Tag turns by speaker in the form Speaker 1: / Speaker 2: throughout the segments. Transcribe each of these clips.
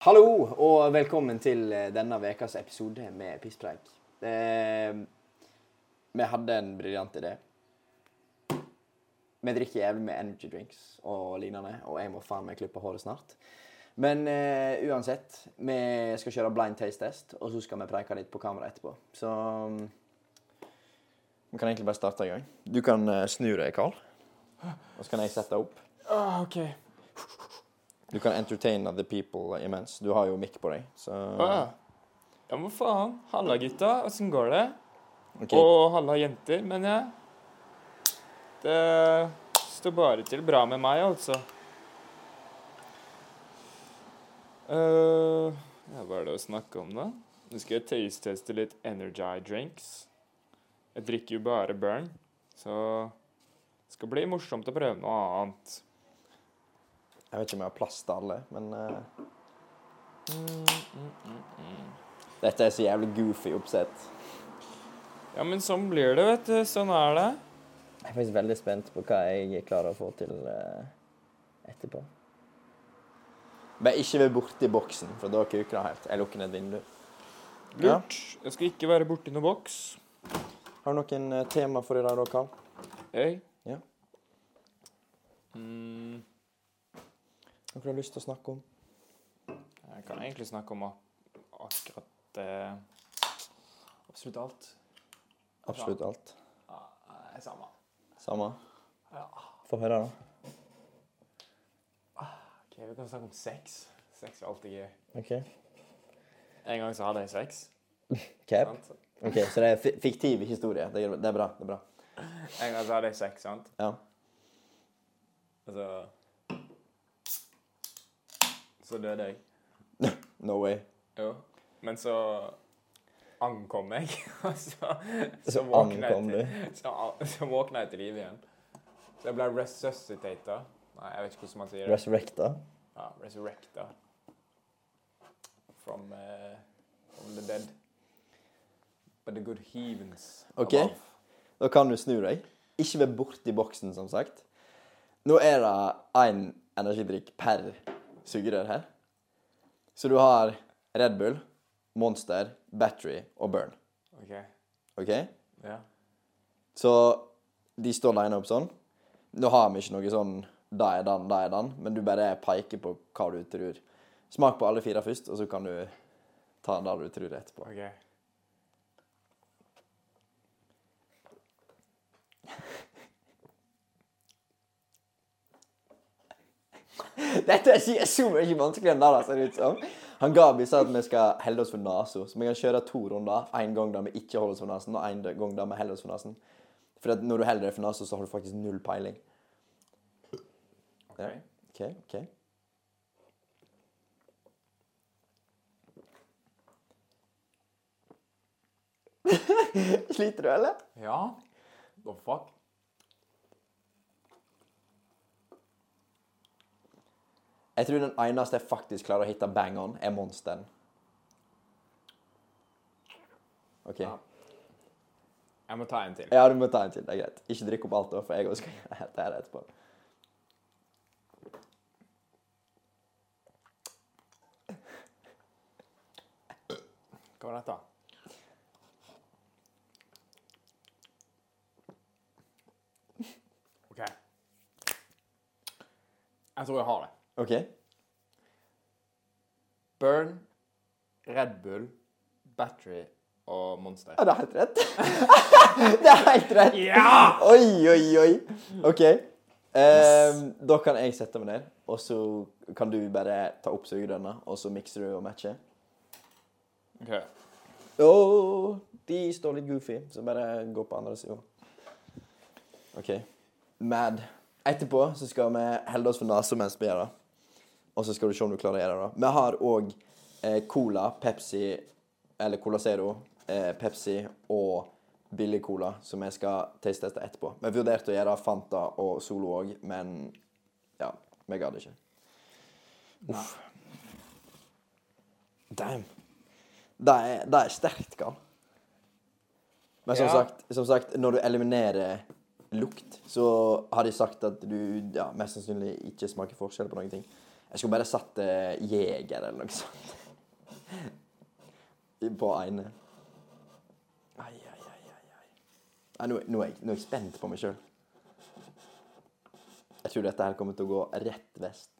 Speaker 1: Hallo og velkommen til eh, denne ukas episode med Pisspreik. Eh, vi hadde en briljant idé. Vi drikker jævlig med energy drinks og lignende, og jeg må faen meg klippe håret snart. Men eh, uansett, vi skal kjøre blind taste test, og så skal vi preike litt på kamera etterpå. Så mm, vi kan egentlig bare starte i gang. Du kan eh, snu deg, Carl. Og så kan jeg sette opp.
Speaker 2: Ah, ok.
Speaker 1: Du kan entertain the people imens. Du har jo mic på deg, så
Speaker 2: Ah. Ja, men faen. Halla, gutta. Åssen går det?
Speaker 1: Ok.
Speaker 2: Og halla, jenter, mener jeg. Det står bare til bra med meg, altså. eh ja, hva er det å snakke om, da? Nå skal jeg taste-teste litt Energy drinks. Jeg drikker jo bare Burn, så det skal bli morsomt å prøve noe annet.
Speaker 1: Jeg vet ikke om jeg har plass til alle, men eh, Dette er så jævlig goofy oppsett.
Speaker 2: Ja, men sånn blir det, vet du. Sånn er det.
Speaker 1: Jeg er faktisk veldig spent på hva jeg klarer å få til eh, etterpå. Bare ikke vær borti boksen, for da kuker det helt. Jeg lukker ned vinduet. Ja.
Speaker 2: Lurt. Jeg skal ikke være borti noen boks.
Speaker 1: Har du noen eh, tema for i dag, da, Karl?
Speaker 2: Jeg?
Speaker 1: Ja.
Speaker 2: Mm,
Speaker 1: Noe du har lyst til å snakke om?
Speaker 2: jeg kan egentlig snakke om ak akkurat eh, Absolutt alt.
Speaker 1: Absolutt alt.
Speaker 2: Nei, samme.
Speaker 1: Samme?
Speaker 2: Ja.
Speaker 1: Få høre, da.
Speaker 2: Ok, Vi kan snakke om sex. Sex er alltid gøy.
Speaker 1: OK.
Speaker 2: En gang så hadde jeg sex.
Speaker 1: Cap?
Speaker 2: sant?
Speaker 1: OK, så det er fi- fiktiv historie. Det er, det er bra. Det er bra.
Speaker 2: En gang så hadde jeg sex, sant?
Speaker 1: Ja.
Speaker 2: Og så Så døde jeg.
Speaker 1: No way.
Speaker 2: Jo. Men så ankom jeg, og så
Speaker 1: Så
Speaker 2: våkna jeg
Speaker 1: ankom
Speaker 2: til-
Speaker 1: du.
Speaker 2: Så, så våkna jeg til live igjen. Så jeg ble resuscitata. Nei, jeg vet ikke hvordan man sier det.
Speaker 1: Resurrecta.
Speaker 2: Ja, resurrecta. From, eh, from the dead. But the good heavens
Speaker 1: Ok. Da kan du snu deg. Ikke vær borti boksen, som sagt. Nå er det én energidrikk per sugerør her. Så du har Red Bull, Monster, Battery og Burn.
Speaker 2: Ok,
Speaker 1: OK?
Speaker 2: ja.
Speaker 1: Så de står lina opp sånn. Nå har vi ikke noe sånn 'da er den, da er den', men du bare peker på hva du tror. Smak på alle fire først, og så kan du ta det du tror etterpå.
Speaker 2: Ok.
Speaker 1: Dette er ikke så mye vanskeligere enn det det ser ut som. Han Gabi sa at vi skal holde oss for nesa, så vi kan kjøre to runder. En gang der vi ikke holder oss for nesen, og en gang der vi holder oss for nesen. For at når du holder deg for nesa, så har du faktisk null peiling.
Speaker 2: Ok.
Speaker 1: OK, OK. Sliter du, eller?
Speaker 2: Ja. The fuck?
Speaker 1: Jeg tror den eneste jeg faktisk klarer å hitte bang on, er monsteren. OK.
Speaker 2: Ja. Jeg må ta en til.
Speaker 1: Ja, du må ta en til. Det er greit. Ikke drikk opp alt, da, for jeg også skal gjøre dette her etterpå.
Speaker 2: Hva var dette? OK. Jeg tror jeg har det.
Speaker 1: OK?
Speaker 2: Burn, Red Bull, Battery og Monster.
Speaker 1: Ja, det er helt rett. det er helt rett.
Speaker 2: Ja!
Speaker 1: Oi, oi, oi. OK. Ehm, Da kan jeg sette meg ned, og så kan du bare ta opp sugerønna, og så mikser du og matcher.
Speaker 2: OK.
Speaker 1: Åh, de står litt goofy, så bare gå på andre sida. OK. Mad. Etterpå så skal vi holde oss for nesa mens vi gjør det. Og så skal du se om du klarer å gjøre det. Vi har òg eh, Cola, Pepsi Eller Cola Zero, eh, Pepsi og billig Cola, som jeg skal taste teste etterpå. Vi vurderte å gjøre Fanta og Solo òg, men ja, vi gadd ikke. Uff. Damn. Det er, det er sterkt, Karl. Men som,
Speaker 2: Ja.
Speaker 1: sagt, som sagt, når du eliminerer lukt, så har de sagt at du ja, mest sannsynlig ikke smaker forskjell på noen ting. Jeg skulle bare satt eh, jeger eller noe sånt. I- På ene. Ai, ai, ai, ai, ai. Nei, nå, nå, er jeg, nå er jeg spent på meg sjøl. Jeg tror dette her kommer til å gå rett vest.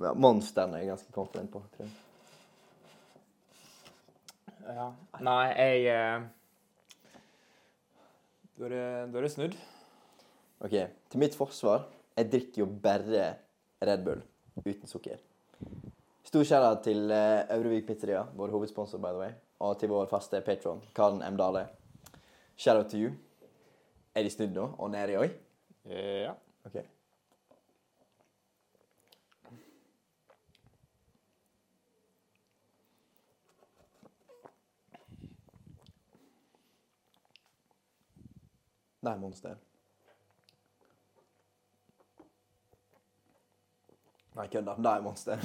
Speaker 1: Ja, Monsteren er jeg ganske confident på, tror jeg.
Speaker 2: Ja. Nei, jeg eh, Da er det da er det snudd.
Speaker 1: Ok, til mitt forsvar Jeg drikker jo bare Red Bull Uten sukker Stor kjære til eh, Øvrevik Pizzeria Vår hovedsponsor, by the way Og til vår faste patron, Karen M. Dale Shout out to you Er de snudd nå? Og nede i oi?
Speaker 2: Ja.
Speaker 1: Ok Nei, monster. Nei, kødda. Det er monster.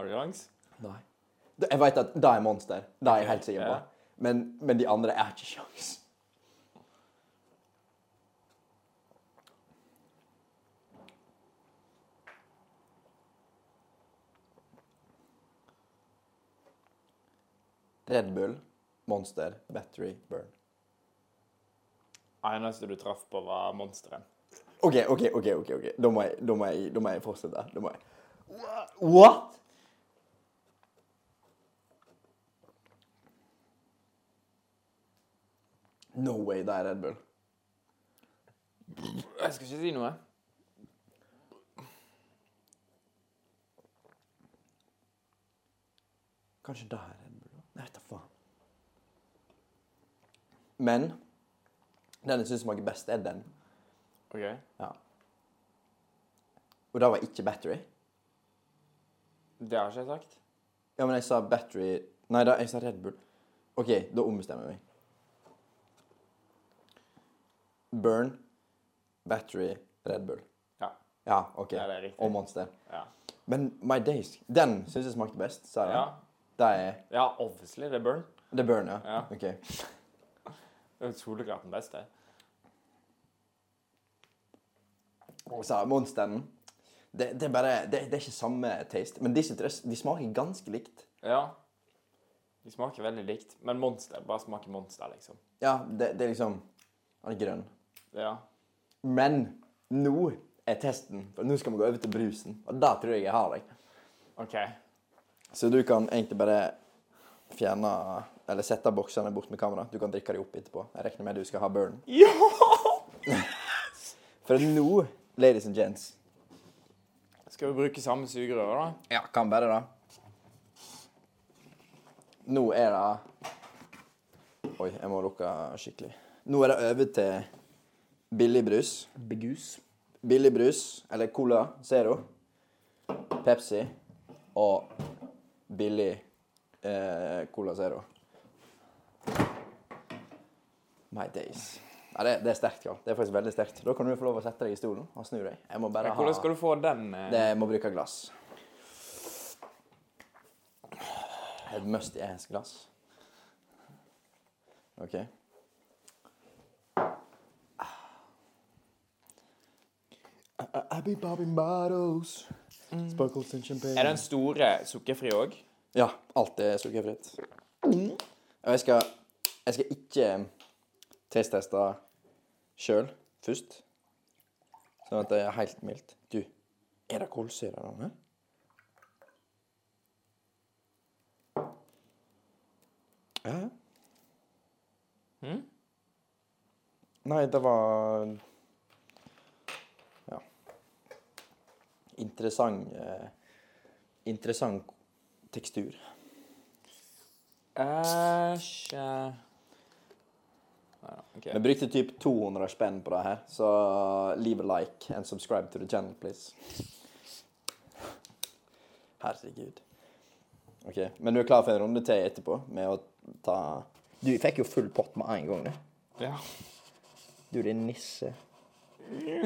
Speaker 2: Har du langs?
Speaker 1: Nei. Jeg veit at det er monster. Det er jeg helt sikker
Speaker 2: Ja.
Speaker 1: på. Men, men de andre er ikke sjans. Red Bull, Monster, Battery, Burn.
Speaker 2: Eneste du traff på, var monsteret.
Speaker 1: OK, OK, OK. ok, ok. Da må jeg, da må jeg, da må jeg fortsette. Da må jeg What?! No way, det er Red Bull.
Speaker 2: Jeg skal ikke si noe.
Speaker 1: Kanskje det er Red Bull? da? Nei, ta faen. Men den jeg syns smaker best, er den.
Speaker 2: OK.
Speaker 1: Ja. Og det var ikke Battery.
Speaker 2: Det har ikke jeg sagt.
Speaker 1: Ja, men jeg sa battery Nei, da, jeg sa Red Bull. OK, da ombestemmer jeg meg. Burn, battery, Red Bull.
Speaker 2: Ja.
Speaker 1: Ja, OK.
Speaker 2: Ja, det er riktig.
Speaker 1: Og Monster.
Speaker 2: Ja.
Speaker 1: Men My Days, den syns jeg smakte best, sa jeg.
Speaker 2: Ja,
Speaker 1: Det er
Speaker 2: ja obviously. Det er burn.
Speaker 1: det er Burn, ja.
Speaker 2: Ja.
Speaker 1: OK.
Speaker 2: Det er Soleklart den beste.
Speaker 1: Og så Monsteren det, det er bare det, det er ikke samme taste. Men disse tre de smaker ganske likt.
Speaker 2: Ja. De smaker veldig likt, men monster bare smaker monster, liksom.
Speaker 1: Ja, det, det er liksom Han er grønn.
Speaker 2: Ja.
Speaker 1: Men nå er testen. For nå skal vi gå over til brusen. Og da tror jeg jeg har deg.
Speaker 2: OK.
Speaker 1: Så du kan egentlig bare fjerne Eller sette boksene bort med kamera. Du kan drikke dem opp etterpå. Jeg regner med du skal ha burn.
Speaker 2: Ja!
Speaker 1: For nå, ladies and gents
Speaker 2: Skal vi bruke samme sugerøre, da?
Speaker 1: Ja, kan bare det. Nå er det Oi, jeg må lukke skikkelig. Nå er det over til billig brus.
Speaker 2: Begus.
Speaker 1: Billig brus, eller Cola Zero, Pepsi og billig eh, Cola Zero. My days. Ja, det, det er sterkt, Karl. Det er faktisk veldig sterkt. Da kan du få lov å sette deg i stolen og snu deg. Jeg må bare
Speaker 2: Hvordan
Speaker 1: ha
Speaker 2: skal du få den? eh?
Speaker 1: det er, må bruke glass. Et must engelsk glass. OK. Abbey Bobby Bottles. Sparkles and champagne.
Speaker 2: Er den store sukkerfri òg?
Speaker 1: Ja, alt er sukkerfritt. Og jeg skal, jeg skal ikke ehm, taste-teste sjøl først. Sånn at det er helt mildt. Du, er det kolsyre i den her? Ja.
Speaker 2: Mm?
Speaker 1: Nei, det var Ja. Interessant eh, Interessant tekstur.
Speaker 2: Æsj eh. Ja, OK.
Speaker 1: Vi brukte typ 200 spenn på det her, så leave a like and subscribe to the channel, please. Herregud. OK, men du er klar for en runde til etterpå med å ta Du fikk jo full pott med en gang, du.
Speaker 2: Ja.
Speaker 1: Du, din nisse.
Speaker 2: Jeg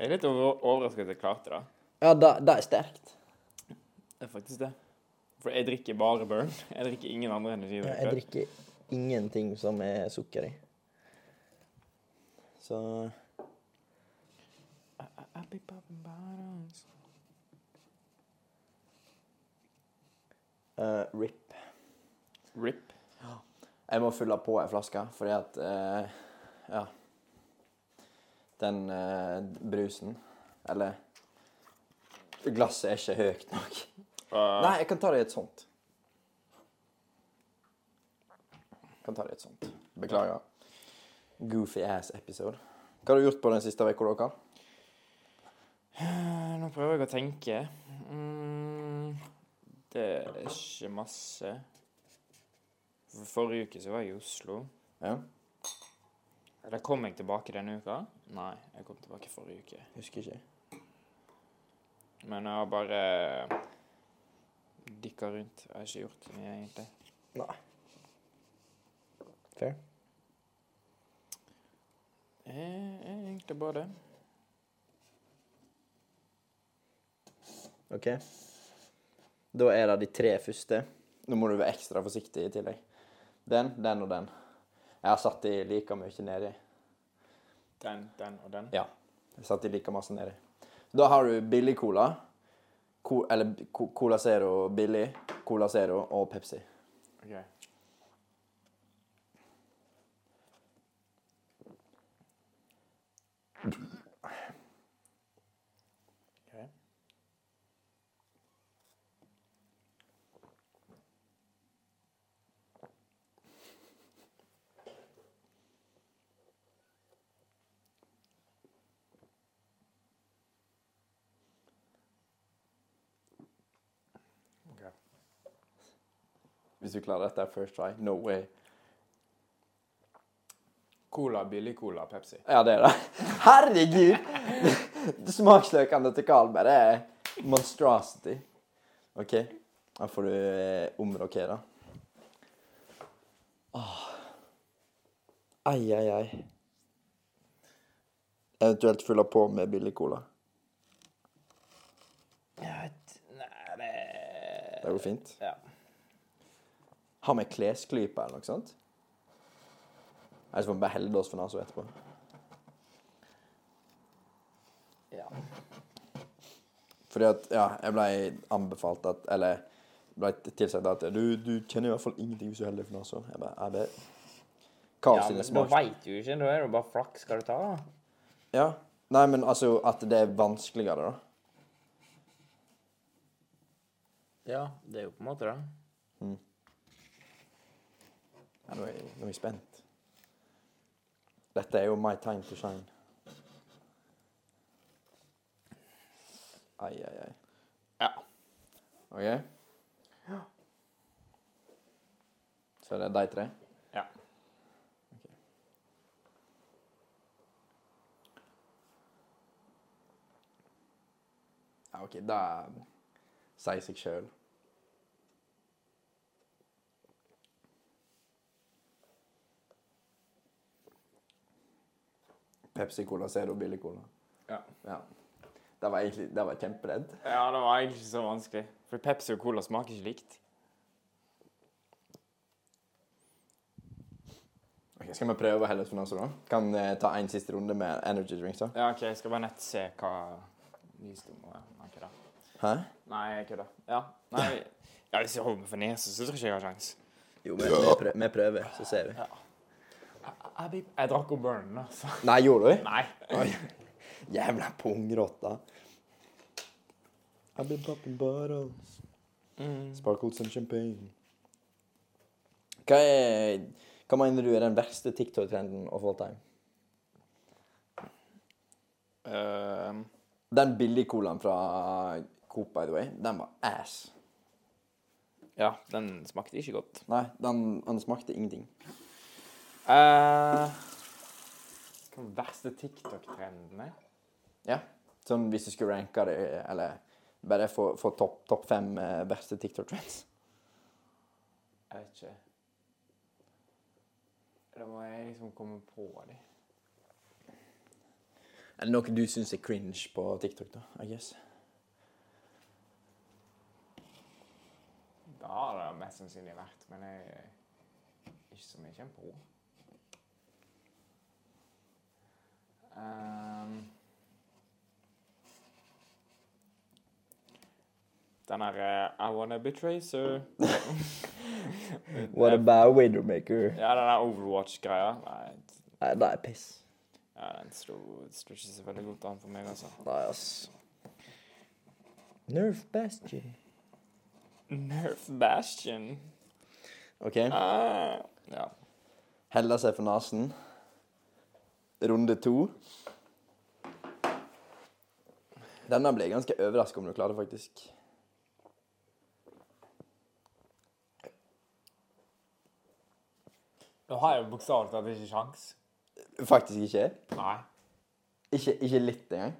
Speaker 2: er litt over overrasket at jeg klarte det.
Speaker 1: Ja, det det er sterkt.
Speaker 2: Det er faktisk det. For jeg drikker bare Burn. Jeg drikker ingen andre
Speaker 1: Ja, jeg
Speaker 2: energidrikker.
Speaker 1: drikker ingenting som er sukker i. Så
Speaker 2: I be popping bottles.
Speaker 1: eh, RIP.
Speaker 2: Rip.
Speaker 1: Jeg må fylle på ei flaske, fordi at eh, Ja. Den eh, brusen Eller Glasset er ikke høyt nok.
Speaker 2: Uh,
Speaker 1: Nei, jeg kan ta det i et sånt. Jeg kan ta det i et sånt. Beklager. Goofy ass episode. Hva har du gjort på den siste uka, dere?
Speaker 2: Eh, Nå prøver jeg å tenke. Mm, det er ikke masse. For Forrige uke så var jeg i Oslo.
Speaker 1: Ja.
Speaker 2: Eller kom jeg tilbake denne uka? Nei, jeg kom tilbake forrige uke.
Speaker 1: Husker ikke.
Speaker 2: Men jeg har bare dikka rundt. Jeg har ikke gjort så mye, egentlig.
Speaker 1: Fair.
Speaker 2: Eh, eh, Egentlig bare det.
Speaker 1: OK. Da er det de tre første. Nå må du være ekstra forsiktig i tillegg. Den, den og den. Jeg har satt de like mye nedi.
Speaker 2: Den, den og den.
Speaker 1: Jeg satt de like masse nedi. Da har du billig cola, co eller co Cola Zero billig, Cola Zero og Pepsi.
Speaker 2: Ok. Ok. Ok.
Speaker 1: Hvis du klarer dette first try, no way.
Speaker 2: Cola, billig cola, Pepsi.
Speaker 1: Ja, det er det. Herregud! Smaksløkene til Karlberg det er monstrosity. OK, da får du eh, omrokere. Åh. Ai, ai, ai. Eventuelt fylle på med billig cola.
Speaker 2: Nei, det
Speaker 1: Det går fint.
Speaker 2: Ja.
Speaker 1: Ha med klesklype eller noe sånt. Ellers får vi bare helle oss for nesa etterpå.
Speaker 2: ja.
Speaker 1: Fordi at, ja, jeg ble anbefalt at Eller ble tilsagt at du, du kjenner i hvert fall ingenting hvis du heller for noe sånt. Jeg bare, jeg vet. Carl sine
Speaker 2: da
Speaker 1: smak.
Speaker 2: veit du ikke. Da er det bare flaks skal du ta. da.
Speaker 1: Ja. Nei, men altså at det er vanskeligere, da.
Speaker 2: Ja, det er jo på en måte det.
Speaker 1: Ja, nå, er jeg, nå er jeg spent. Dette er jo my time to shine. Ai, ai, ai.
Speaker 2: Ja.
Speaker 1: OK? Så det er de tre?
Speaker 2: Ja.
Speaker 1: Ok. Ja, OK, da sier seg sjøl. Pepsi Cola Zero Billig Cola.
Speaker 2: Ja.
Speaker 1: Ja. Det var egentlig det var kjemperedd.
Speaker 2: ja, det var egentlig ikke så vanskelig. For Pepsi og Cola smaker ikke likt.
Speaker 1: Ok, Skal vi prøve å helle ut for noe sånt? da? Kan eh, ta en siste runde med energy drinks. da?
Speaker 2: Ja, OK, jeg skal bare nett se hva visdom er. Nei, ikke det.
Speaker 1: Hæ?
Speaker 2: Nei, jeg kødder. Ja. Nei. Ja, Hvis jeg holder meg for nesen, så tror jeg ikke jeg har sjans.
Speaker 1: Jo, vi, vi, prøver, vi prøver, så ser vi.
Speaker 2: Jeg, jeg, jeg drakk opp burnen, altså.
Speaker 1: Nei, gjorde du?
Speaker 2: Nei.
Speaker 1: Oi. Jævla pungrotta. I've been popping bottles,
Speaker 2: Mm.
Speaker 1: sparkled some champagne. Hva, er, hva mener du er den verste TikTok-trenden of all time?
Speaker 2: Øhm,
Speaker 1: Den billige colaen fra Coop, by the way, den var ass.
Speaker 2: ja, den smakte ikke godt.
Speaker 1: Nei, den, den smakte ingenting.
Speaker 2: Eh, Hva den verste TikTok-trenden eh? er?
Speaker 1: Ja. Sånn hvis du skulle ranke det, eller bare få, få topp topp fem eh, beste TikTok-trends.
Speaker 2: Jeg vet ikke. Da må jeg liksom komme på dem.
Speaker 1: Er det noe du syns er cringe på TikTok, da? I guess.
Speaker 2: mest sannsynlig vært, men jeg ikke som jeg kommer på. Ehm, den her eh, I wanna be tracer.
Speaker 1: What about Widowmaker?
Speaker 2: Ja, den der Overwatch-greia. Nei,
Speaker 1: Nei, det er piss.
Speaker 2: ja, den sto, sto ikke så veldig godt an for meg, altså.
Speaker 1: Nei, ass. Nerf Bastion.
Speaker 2: Nerf Bastion.
Speaker 1: OK.
Speaker 2: Ah, ja.
Speaker 1: Heller seg for nesen. Runde to. Denne ble jeg ganske overraska om du klarer, faktisk.
Speaker 2: Nå har jeg jo bokstavelig talt ikke sjans.
Speaker 1: Faktisk ikke.
Speaker 2: Nei.
Speaker 1: Ikke, ikke litt engang.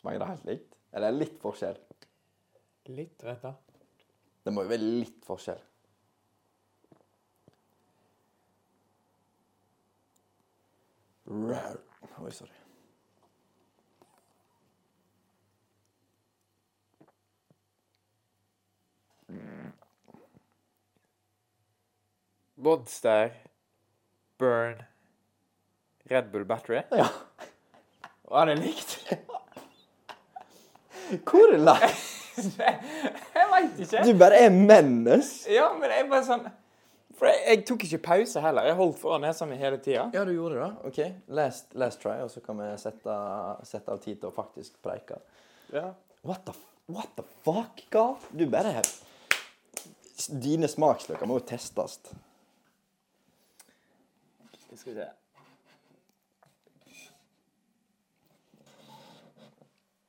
Speaker 1: Smaker det helt likt? Eller er det litt forskjell?
Speaker 2: Litt, vet du.
Speaker 1: Det må jo være litt forskjell. Rar. Oi, sorry.
Speaker 2: Monster, Burn, Red Bull Battery.
Speaker 1: Ja.
Speaker 2: Var det likt?
Speaker 1: Hvor er det?
Speaker 2: jeg veit ikke.
Speaker 1: Du bare er mennesk.
Speaker 2: Ja, men jeg bare sånn For jeg, jeg tok ikke pause heller. Jeg holdt foran nesa mi hele tida.
Speaker 1: Ja, du gjorde det. da. OK, last, last try, og så kan vi sette, sette av tid til å faktisk preike.
Speaker 2: Ja.
Speaker 1: What the, f- what the fuck, gal? Du bare S- Dine smaksløker må jo testes.
Speaker 2: Skal vi se.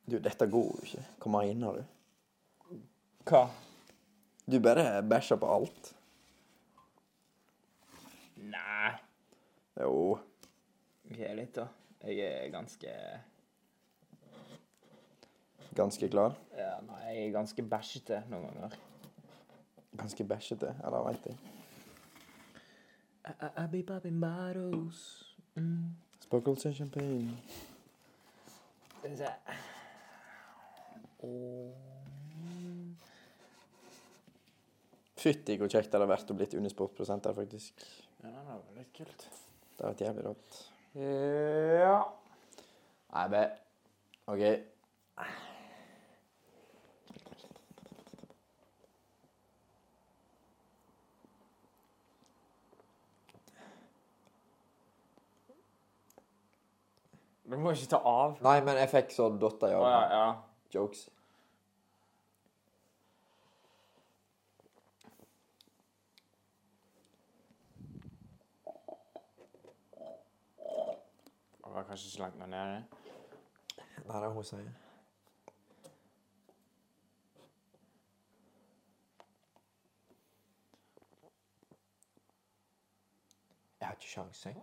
Speaker 1: Du, dette går jo ikke. Hva mener du?
Speaker 2: Hva?
Speaker 1: Du bare bæsjer på alt.
Speaker 2: Nei.
Speaker 1: Jo.
Speaker 2: Ok, litt, da. Jeg er ganske
Speaker 1: Ganske klar.
Speaker 2: Ja, nei, jeg er ganske bæsjete noen ganger.
Speaker 1: Ganske bæsjete. Ja, det veit jeg.
Speaker 2: I, I, I be popping bottles. Mm.
Speaker 1: Sparkles and champagne.
Speaker 2: Skal vi se Og
Speaker 1: Fytti hvor kjekt det hadde vært å bli unisportprosent der, faktisk.
Speaker 2: Ja, den er jo litt kult.
Speaker 1: Det hadde vært jævlig rått.
Speaker 2: Ja.
Speaker 1: Nei, be. OK.
Speaker 2: Du må ikke ta av.
Speaker 1: Nei, men jeg fikk så dotter i
Speaker 2: Å ja,
Speaker 1: armen.
Speaker 2: ja.
Speaker 1: Jokes.
Speaker 2: Det var kanskje ikke langt nok nede.
Speaker 1: Nei, det er hun sier. Jeg har ikke sjans, jeg.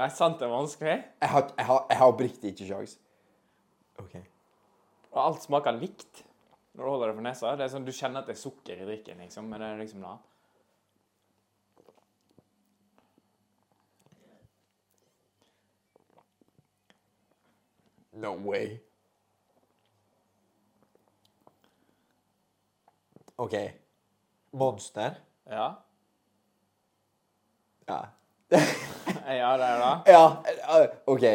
Speaker 2: Nei, sant det er vanskelig?
Speaker 1: Jeg har, jeg har, jeg har oppriktig ikke sjans. OK.
Speaker 2: Og alt smaker likt når du holder det for nesa. Det er sånn, Du kjenner at det er sukker i drikken, liksom, men det er liksom det.
Speaker 1: No way. OK. Monster?
Speaker 2: Ja.
Speaker 1: Ja.
Speaker 2: ja, det er det.
Speaker 1: Ja, eh, OK.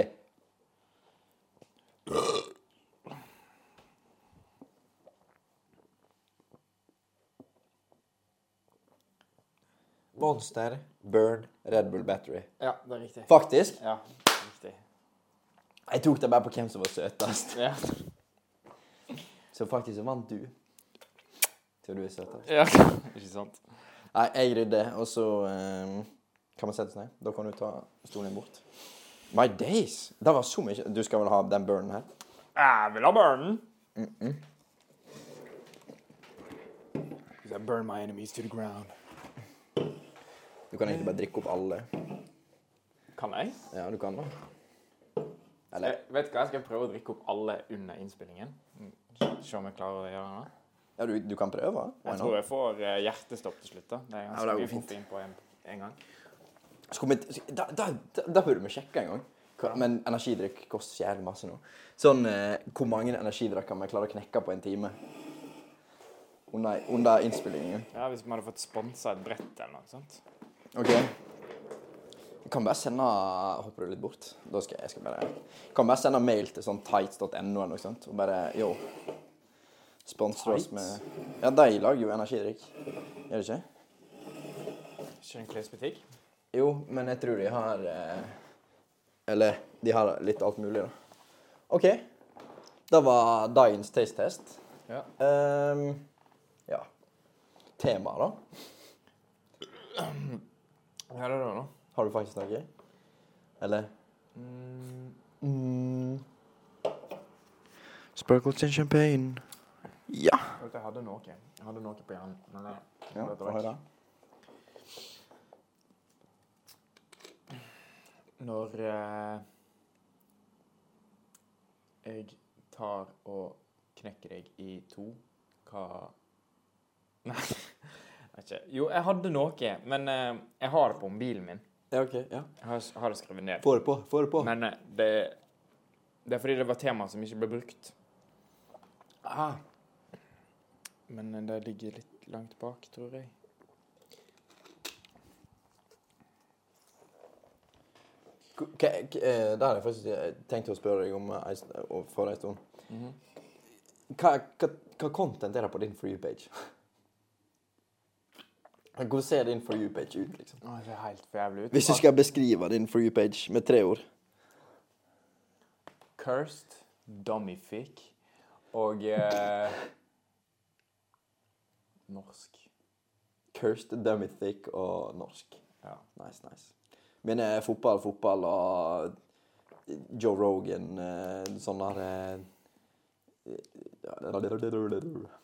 Speaker 1: Monster, Burn, Red Bull Battery.
Speaker 2: Ja, det er riktig.
Speaker 1: Faktisk.
Speaker 2: Ja, riktig.
Speaker 1: Jeg tok det bare på hvem som var søtest.
Speaker 2: Ja.
Speaker 1: Så faktisk så vant du. Så du er søtest.
Speaker 2: ja. ikke sant?
Speaker 1: Nei, jeg rydder, og så eh, kan vi sette oss ned. Da kan du ta stolen din bort. My days! Det var så mye Du skal vel ha den burnen her?
Speaker 2: Jeg vil ha burnen. Because I burn my enemies to the ground.
Speaker 1: Du kan egentlig bare drikke opp alle.
Speaker 2: Kan jeg?
Speaker 1: Ja, du kan da. Eller
Speaker 2: Jeg vet du hva, jeg skal prøve å drikke opp alle under innspillingen. Mm. Se om jeg klarer å gjøre det.
Speaker 1: Ja, du, du kan prøve. Why
Speaker 2: Jeg
Speaker 1: not?
Speaker 2: tror jeg får eh, hjertestopp til slutt. da. Det er
Speaker 1: Ja, det
Speaker 2: ganske
Speaker 1: er jo
Speaker 2: mye
Speaker 1: fint.
Speaker 2: koffein på en, en gang.
Speaker 1: Skal vi, da, da, da, da burde vi sjekke en gang. Hva- Men energidrikk koster jævlig masse nå. Sånn eh, Hvor mange energidrikk kan man klare å knekke på en time? Under, under innspillingen.
Speaker 2: Ja, Hvis vi hadde fått sponsa et brett eller noe sånt.
Speaker 1: OK. Jeg kan bare sende Hopper du litt bort? Da skal jeg, jeg skal bare jeg Kan bare sende mail til sånn tights.no eller noe sånt og bare Yo. Sponsor oss
Speaker 2: Tights?
Speaker 1: med Ja, de lager jo energidrikk. Gjør de ikke?
Speaker 2: Ikke en klesbutikk.
Speaker 1: Jo, men jeg tror de har eh, Eller de har litt alt mulig, da. OK. Det var dagens taste test.
Speaker 2: Ja.
Speaker 1: Ehm, ja. Tema, da?
Speaker 2: Hva er det da, da?
Speaker 1: Har du faktisk noe? Eller?
Speaker 2: Mm,
Speaker 1: Mm. Sparkles and champagne. Ja.
Speaker 2: vet du, jeg hadde noe. Jeg hadde noe på hjernen. Men jeg,
Speaker 1: ja
Speaker 2: det
Speaker 1: Få
Speaker 2: var
Speaker 1: høre.
Speaker 2: Når eh, jeg tar og knekker deg i to, hva Nei, jeg vet ikke. Jo, jeg hadde noe, men eh, jeg har det på mobilen min.
Speaker 1: Ja, OK. ja.
Speaker 2: Jeg har, har det skrevet ned.
Speaker 1: Få det på. Få det på.
Speaker 2: Men eh, det, det er fordi det var tema som ikke ble brukt. Ah. Men eh, det ligger litt langt bak, tror jeg.
Speaker 1: K k k eh, det har jeg faktisk eh, tenkt å spørre deg om eh, ei st- eh, for en stund. Hva, hva, hva content er det på din For you-page? Hvordan ser din For you-page ut? liksom?
Speaker 2: Å, det ser helt for jævlig ut.
Speaker 1: Hvis du skal beskrive din For you-page med tre ord
Speaker 2: Cursed, Dummyfic og eh, Norsk.
Speaker 1: Cursed, Dummy Thick og norsk.
Speaker 2: Ja.
Speaker 1: Nice, nice. Mine er fotball, fotball og Joe Rogan, eh, sånn der eh,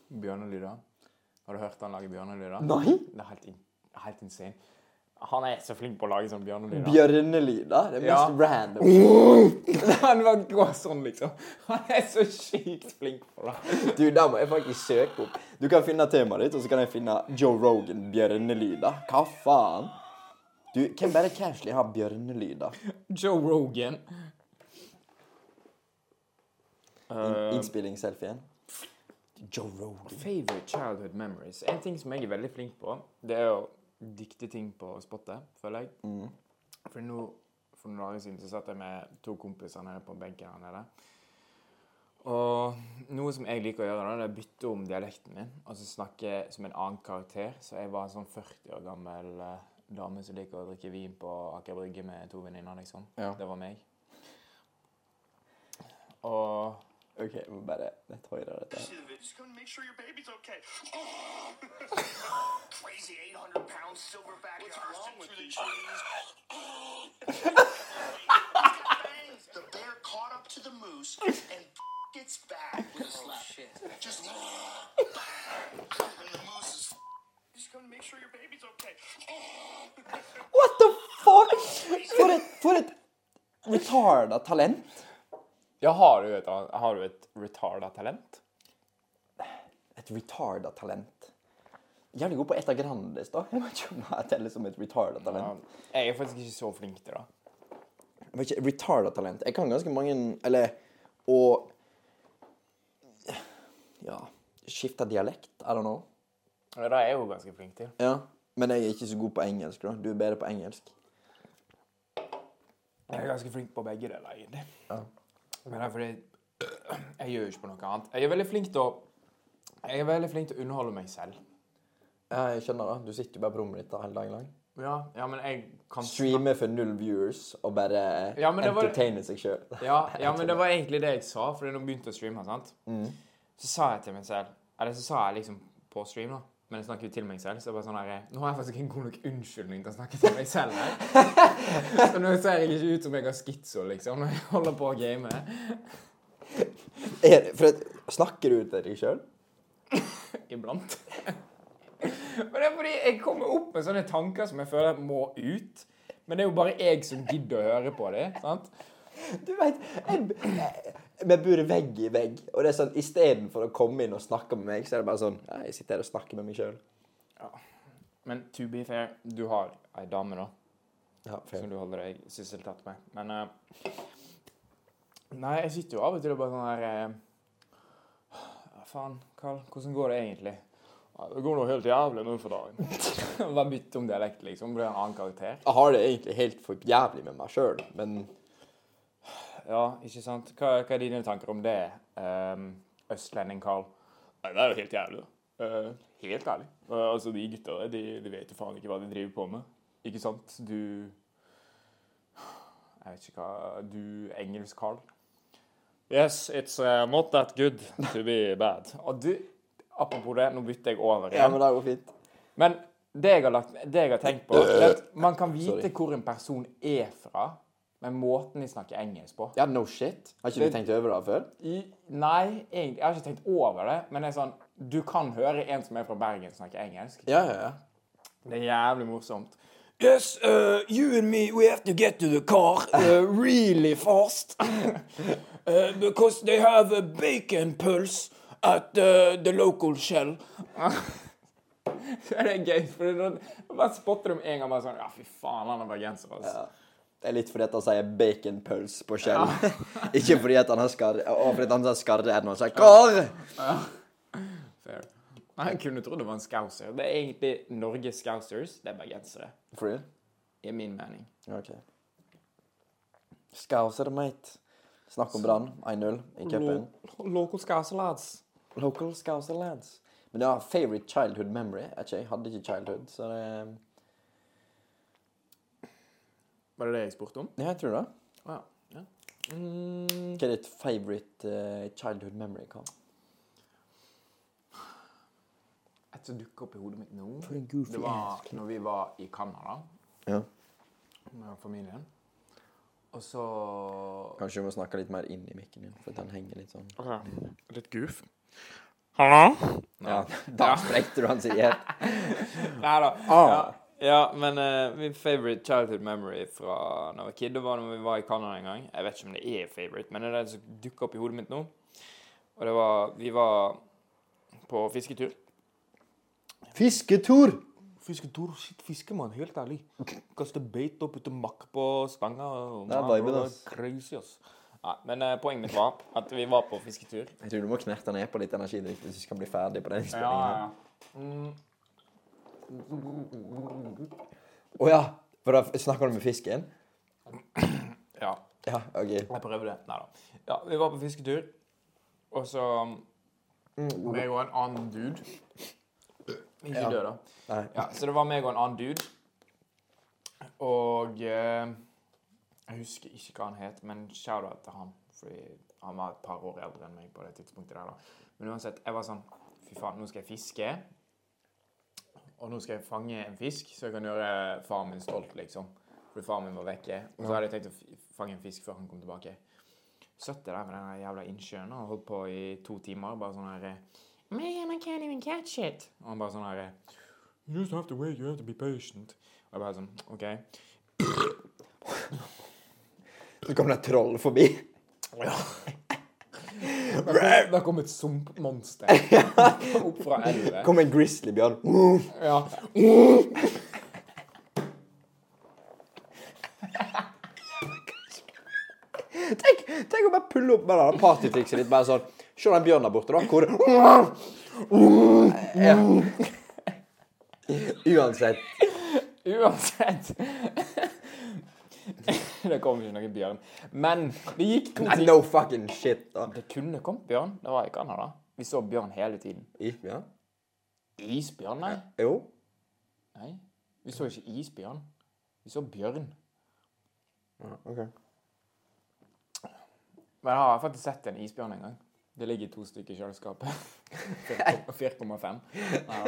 Speaker 2: Bjørnelyder. Har du hørt han lage bjørnelyder?
Speaker 1: Nei!
Speaker 2: Det er helt, in helt insane. Han er så flink på å lage sånne bjørnelyder.
Speaker 1: Bjørnelyder. Det er mest
Speaker 2: Ja.
Speaker 1: random.
Speaker 2: han bare går sånn, liksom. Han er så sykt flink på det.
Speaker 1: Du, der må jeg faktisk søke opp. Du kan finne temaet ditt, og så kan jeg finne Joe Rogan, bjørnelyder. Hva faen? Du, hvem bare casually har bjørnelyder?
Speaker 2: Joe Rogan. Eh. Um,
Speaker 1: In Innspillingsselfien. Joe Rogan.
Speaker 2: Favorite childhood memories. En ting som jeg er veldig flink på, det er å dikte ting på spottet, føler jeg. For nå, for noen dager siden så satt jeg med to kompiser nede på benken her nede. Og noe som jeg liker å gjøre, da, det er å bytte om dialekten min. Og så snakke som en annen karakter. Så jeg var en sånn 40 år gammel eh, dame som liker å drikke vin på Aker Brygge med to venninner, liksom.
Speaker 1: Ja.
Speaker 2: Det var meg. Og
Speaker 1: OK, jeg må bare nett høre dette. her.
Speaker 3: of it. Just gonna make sure your baby's okay. Crazy 800 pound silverback What's wrong with these trees? the bear caught up to the moose and its back with a slap. Just and the moose is. Just gonna make sure your baby's okay.
Speaker 1: What the fuck? For et, for et retarda talent.
Speaker 2: Ja, har du et, annet- har du et retarda talent?
Speaker 1: Et retarda talent. Jævlig god på Etta Grandis, da. Jeg vet ikke om jeg teller som et retarda talent.
Speaker 2: Jeg er faktisk ikke så flink til det.
Speaker 1: Jeg vet ikke, retarda talent. Jeg kan ganske mange Eller Og Ja Skifte dialekt. I don't know.
Speaker 2: Men det er jeg jo ganske flink til.
Speaker 1: Ja. Men jeg er ikke så god på engelsk, da. Du er bedre på engelsk.
Speaker 2: Jeg er ganske flink på begge deler, egentlig. Men det er fordi jeg gjør jo ikke på noe annet. Jeg er veldig flink til å jeg er veldig flink til å underholde meg selv.
Speaker 1: Ja, jeg skjønner det. Du sitter jo bare på rommet ditt da, hele dagen lang.
Speaker 2: Ja, ja men jeg kan
Speaker 1: Streamer for null viewers og bare
Speaker 2: Ja, men det var-
Speaker 1: entertainer seg sjøl.
Speaker 2: ja, ja, men det var egentlig det jeg sa, fordi når jeg begynte å streame, sant? så sa jeg til meg selv Eller så sa jeg liksom på stream, da. Men jeg snakker jo til meg selv, så jeg bare sånn her Nå har jeg faktisk en god nok unnskyldning til å snakke til meg selv. her. så nå ser jeg ikke ut som jeg har skitso, liksom, når jeg holder på å game.
Speaker 1: Er det- For at, snakker du til deg sjøl?
Speaker 2: iblant. Men det er fordi jeg kommer opp med sånne tanker som jeg føler må ut. Men det er jo bare jeg som gidder å høre på det. sant?
Speaker 1: Du veit Vi bor vegg i vegg, og det er sånn istedenfor å komme inn og snakke med meg, så er det bare sånn ja, Jeg sitter her og snakker med meg sjøl.
Speaker 2: Men to be fair, du har ei dame, da.
Speaker 1: Ja, fair.
Speaker 2: som du holder deg sysseltatt med. Men eh, Nei, jeg sitter jo av og til og bare sånn her eh, «Ja, Faen, Karl, hvordan går det egentlig? «Ja, Det går nå helt jævlig nå for dagen. bare bytte om dialekt, liksom. Blir en annen karakter.
Speaker 1: Jeg har det egentlig helt for jævlig med meg sjøl, men
Speaker 2: Ja, ikke sant? Hva, hva er dine tanker om det, ehm, østlending Karl? Nei, det er jo helt jævlig, da. Eh, helt ærlig. Eh, altså, de gutta der, de, de vet jo faen ikke hva de driver på med. Ikke sant? Du Jeg vet ikke hva Du engelsk Karl? Yes, it's uh, not that good to be bad. Og du, apropos det, nå bytter jeg over
Speaker 1: Ja,
Speaker 2: igjen.
Speaker 1: men det går fint.
Speaker 2: Men det jeg har, lagt, det jeg har tenkt på, det er at man kan vite
Speaker 1: Sorry.
Speaker 2: hvor en person er fra, men måten de snakker engelsk på
Speaker 1: Ja, no shit. Har ikke
Speaker 2: Det-
Speaker 1: du tenkt over det før?
Speaker 2: i, Nei, egentlig, jeg har ikke tenkt over det, men det er sånn Du kan høre en som er fra Bergen snakke engelsk.
Speaker 1: Ja, ja, ja.
Speaker 2: Det er jævlig morsomt.
Speaker 4: Yes, uh, you and me, we have to get to the car uh, really fast uh, because they have a bacon pulse at uh, the local shell.
Speaker 2: Så er det gøy, for det er noen- bare spotter dem en gang bare sånn Ja, fy faen, han er bergenser, altså.
Speaker 1: Det er litt fordi at han sier baconpølse på skjell. ikke fordi at han har skarre, og fordi at han sier skarre er når han sier kar.
Speaker 2: Fair. Nei, jeg kunne trodd det var en scouser. Det er egentlig Norges scousers. Det er bergensere.
Speaker 1: For real?
Speaker 2: I min mening.
Speaker 1: Ja, OK. Skauser, mate. Snakk om Brann. 1-0 i cupen.
Speaker 2: Local scouser lads.
Speaker 1: Local Scouser lads. Men det var favorite childhood memory. er Ikke, jeg hadde ikke childhood, så det
Speaker 2: Var det det jeg spurte om?
Speaker 1: Ja, jeg tror det.
Speaker 2: Ja. ja. Mm,
Speaker 1: Hva er ditt favorite eh, childhood memory? Hva?
Speaker 2: et som dukker opp i hodet mitt nå
Speaker 1: For en goofy
Speaker 2: Det var når vi var i Canada
Speaker 1: Ja.
Speaker 2: med familien. Og så
Speaker 1: Kanskje du må snakke litt mer inn i mikken din, for at den henger litt sånn.
Speaker 2: Litt goof. Hallo?
Speaker 1: Ja, Da sprekte du hans igjen.
Speaker 2: Nei da.
Speaker 1: Ah.
Speaker 2: Ja, ja, men eh, min favorite childhood memory fra da jeg var kid, det var når vi var i Canada en gang. Jeg vet ikke om det er favorite, men det er det som dukker opp i hodet mitt nå. Og det var Vi var på fisketur.
Speaker 1: Fisketur!
Speaker 2: Fisketur? Shit, fiskemann, helt ærlig. Kaste beit opp uten makk på stanga. og-
Speaker 1: Det er viben, ass.
Speaker 2: Crazy, ass. Nei, men eh, poenget mitt var at vi var på fisketur.
Speaker 1: Jeg tror du må knerte ned på litt energidrikk hvis du skal bli ferdig på den innspillingen. her.
Speaker 2: Mm,
Speaker 1: Å ja. For da snakker du med fisken?
Speaker 2: Ja.
Speaker 1: Ja, OK.
Speaker 2: Jeg prøver det. Nei da. Ja, vi var på fisketur, og så Meg og en annen dude. Ikke
Speaker 1: Mm, Ja.
Speaker 2: død, da.
Speaker 1: Nei.
Speaker 2: Ja, så det var meg og en annen dude. Og eh, Jeg husker ikke hva han het, men shout-out til han. Fordi han var et par år eldre enn meg på det tidspunktet der. da. Men uansett, jeg var sånn Fy faen, nå skal jeg fiske. Og nå skal jeg fange en fisk, så jeg kan gjøre faren min stolt, liksom. Fordi faren min var vekke. Og så hadde jeg tenkt å f- fange en fisk før han kom tilbake. Satt jeg der med den der jævla innsjøen og holdt på i to timer. Bare sånn her Man, I can't even catch it. Og han bare sånn her You just have to wait. You have to be patient. Og jeg bare sånn, ok.
Speaker 1: Så kom det et troll forbi.
Speaker 2: Da kom et sumpmonster opp fra elvet.
Speaker 1: Kom en grizzlybjørn. Uff.
Speaker 2: Ja.
Speaker 1: Tenk, tenk å bare pulle opp med det der partytrikset ditt. Bare sånn Se den bjørnen der borte, da. Hvor ja. Uansett.
Speaker 2: Uansett. Det kom ikke noen bjørn. Men det gikk to
Speaker 1: Nei,
Speaker 2: timer.
Speaker 1: No fucking shit, da.
Speaker 2: Det kunne kommet bjørn. Det var i Canada. Vi så bjørn hele tiden.
Speaker 1: Ja.
Speaker 2: Isbjørn, nei.
Speaker 1: Jo.
Speaker 2: nei. Vi så ikke isbjørn. Vi så bjørn.
Speaker 1: OK.
Speaker 2: Men jeg har faktisk sett en isbjørn en gang. Det ligger to stykker i kjøleskapet. 4,5. Ja.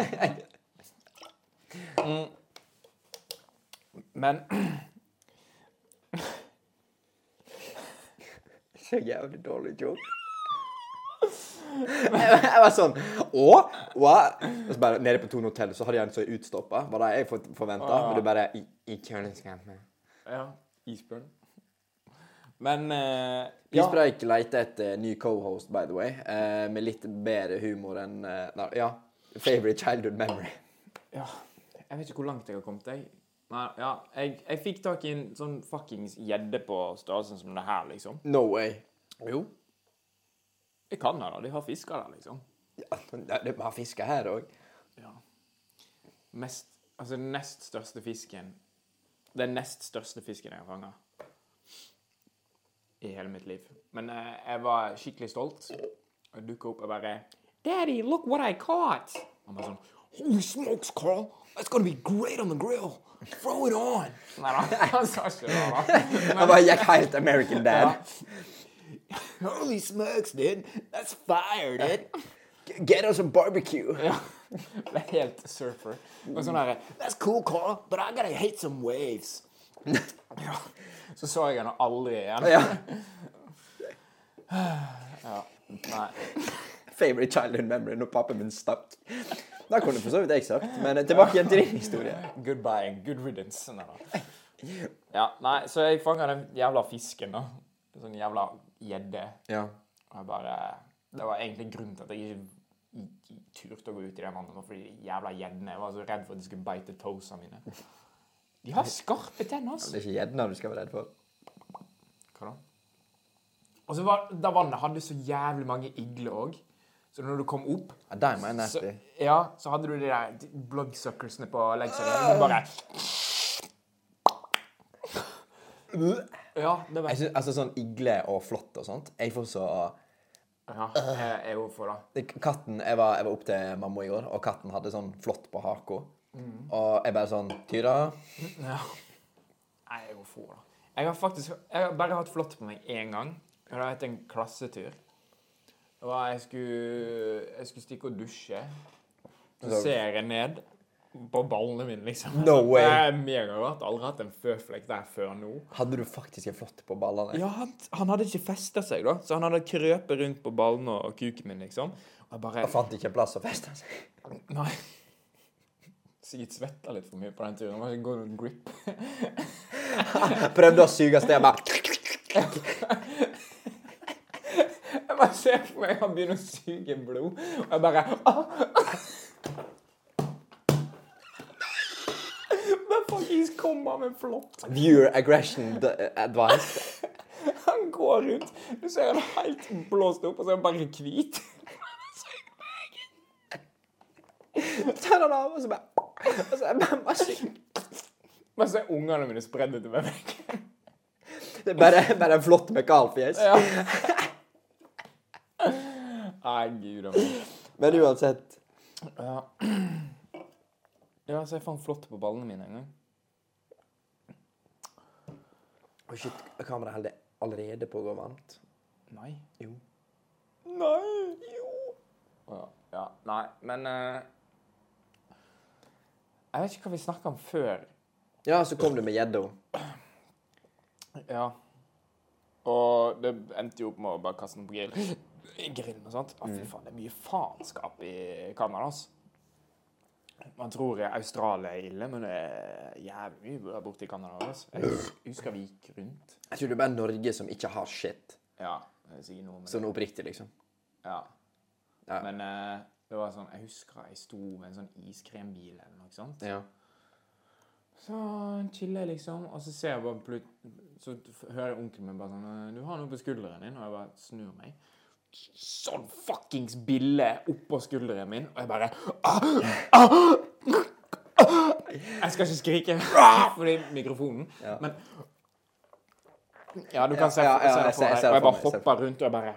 Speaker 2: Mm. Men
Speaker 1: Så jævlig dårlig joke. Jeg jeg var sånn Å? What? Og så bare Nede på Tone Hotell så hadde jeg en som er utstoppa. Var det jeg forventa?
Speaker 4: Ah.
Speaker 1: Men du bare I, i kjøleskapet.
Speaker 2: Ja. Isbjørn. Men eh, ja.
Speaker 1: Ispreik leter etter ny co-host, by the way, eh, med litt bedre humor enn eh, nei, Ja. Favorite childhood memory.
Speaker 2: ja. Jeg vet ikke hvor langt jeg har kommet. Jeg. Nei, ja. Jeg, jeg fikk tak i en sånn fuckings gjedde på størrelsen som det her, liksom.
Speaker 1: No way.
Speaker 2: Jo. Jeg kan det, da. De har fisker der, liksom.
Speaker 1: Ja, det det er bare fisker her òg.
Speaker 2: Ja. Mest Altså, den nest største fisken Den nest største fisken jeg har fanga i hele mitt liv. Men eh, jeg var skikkelig stolt. Jeg dukka opp og bare Daddy, look what I caught! Han bare sånn
Speaker 4: Holy smokes, Carl. That's gonna be great on the grill. Throw it on.
Speaker 2: Nei da, han sa ikke det, da.
Speaker 1: Han bare gikk helt American Dad.
Speaker 4: Holy smokes, dude. That's fire, dude.
Speaker 1: Get us a barbecue.
Speaker 2: Det er helt surfer. Og sånn der,
Speaker 4: That's cool, Carl, but I gotta hit some waves.
Speaker 2: ja. Så så jeg henne aldri igjen.
Speaker 1: Ja.
Speaker 2: Nei.
Speaker 1: Favorite childhood memory når pappaen min stakk. Da kunne for så vidt jeg sagt, men eh, tilbake igjen til din historie.
Speaker 2: Goodbye and good riddance. Nei, da. Ja, nei, så jeg fanga den jævla fisken, da. Sånn jævla gjedde.
Speaker 1: Ja.
Speaker 2: Og jeg bare Det var egentlig grunnen til at jeg ikke i- i- turte å gå ut i det vannet, var fordi de jævla gjeddene Jeg var så redd for at de skulle bite toesene mine. De har skarpe tenner, ass.
Speaker 1: Det er ikke gjedna du skal være redd for.
Speaker 2: Hva da? Og så var da vannet hadde så jævlig mange igler òg. Så når du kom opp
Speaker 1: Ja, de er
Speaker 2: så,
Speaker 1: nasty.
Speaker 2: ja, så hadde du de der d- bloodsuckersene på leggene.
Speaker 1: Ah.
Speaker 2: Du bare Ja, det
Speaker 1: Jeg
Speaker 2: vet jeg.
Speaker 1: synes, altså sånn igle og flått og sånt. Jeg får så
Speaker 2: Ja, jeg er jo for det.
Speaker 1: det- Katten Jeg var, jeg var opp til mamma i går, og katten hadde sånn flått på haka. Og jeg bare sånn Tyra?
Speaker 2: Ja. Nei, jeg går for da. Jeg har faktisk jeg har bare hatt flått på meg én gang. Og det har vært en klassetur. Det var jeg skulle, jeg skulle stikke og dusje. Så ser jeg ned på ballene mine, liksom.
Speaker 1: No way.
Speaker 2: Det er megarart. Aldri hatt en føflekk der før nå.
Speaker 1: Hadde du faktisk en flått på ballene?
Speaker 2: Ja, han, han hadde ikke festa seg, da. Så han hadde krøpet rundt på ballene og kuken min, liksom. Og jeg bare
Speaker 1: Jeg fant ikke en plass å feste seg.
Speaker 2: Nei. Sikkert svetta litt for mye på den turen. Det var ikke god nok grip.
Speaker 1: Prøvde å suge av sted, bare
Speaker 2: Jeg bare ser for meg han begynner å suge blod, og jeg bare ah! Men fuckings kom han med flått.
Speaker 1: Viewer aggression d- advice.
Speaker 2: Han går rundt, du ser han helt blåst opp, og så er han bare hvit.
Speaker 1: Tar han av, og så bare Og så er det bare masse
Speaker 2: Men så er ungene mine spredd utover veggen.
Speaker 1: Det er bare, bare en flott med kalfjes.
Speaker 2: Ja. Nei, gud a meg.
Speaker 1: Men uansett
Speaker 2: Ja. ja, så jeg fant flått på ballene mine en gang.
Speaker 1: Å, shit. Kameraet holder allerede på å gå varmt.
Speaker 2: Nei.
Speaker 1: Jo.
Speaker 2: Nei! Jo! Ja. ja. Nei, men eh, Jeg vet ikke hva vi snakka om før.
Speaker 1: Ja, så kom du med gjedda.
Speaker 2: Ja. Og det endte jo opp med å bare kaste den på grill. I grillen og sånt. Å, fy faen, det er mye faenskap i Canada, altså. Man tror Australia er ille, men det er jævlig mye bra borte i Canada. Altså. Jeg hus- husker vi gikk rundt.
Speaker 1: Jeg tror det er bare Norge som ikke har shit.
Speaker 2: Ja, jeg sier noe om det.
Speaker 1: Sånn oppriktig, liksom.
Speaker 2: Ja.
Speaker 1: Ja.
Speaker 2: Men eh, det var sånn, jeg husker jeg sto med en sånn iskrembil eller noe sånt.
Speaker 1: Ja.
Speaker 2: Så chiller jeg liksom, og så ser jeg bare plut... Så f- hører jeg onkelen min bare sånn eh, 'Du har noe på skulderen din.' Og jeg bare snur meg. Sånn fuckings bille oppå skulderen min, og jeg bare ah, ah, ah. Jeg skal ikke skrike fordi mikrofonen,
Speaker 1: Ja.
Speaker 2: men Ja, du kan se,
Speaker 1: ja, ja,
Speaker 2: se det
Speaker 1: jeg ser-
Speaker 2: for
Speaker 1: jeg
Speaker 2: deg.
Speaker 1: ser
Speaker 2: Og
Speaker 1: det
Speaker 2: jeg bare
Speaker 1: for meg, jeg ser det
Speaker 2: hoppa rundt, og jeg bare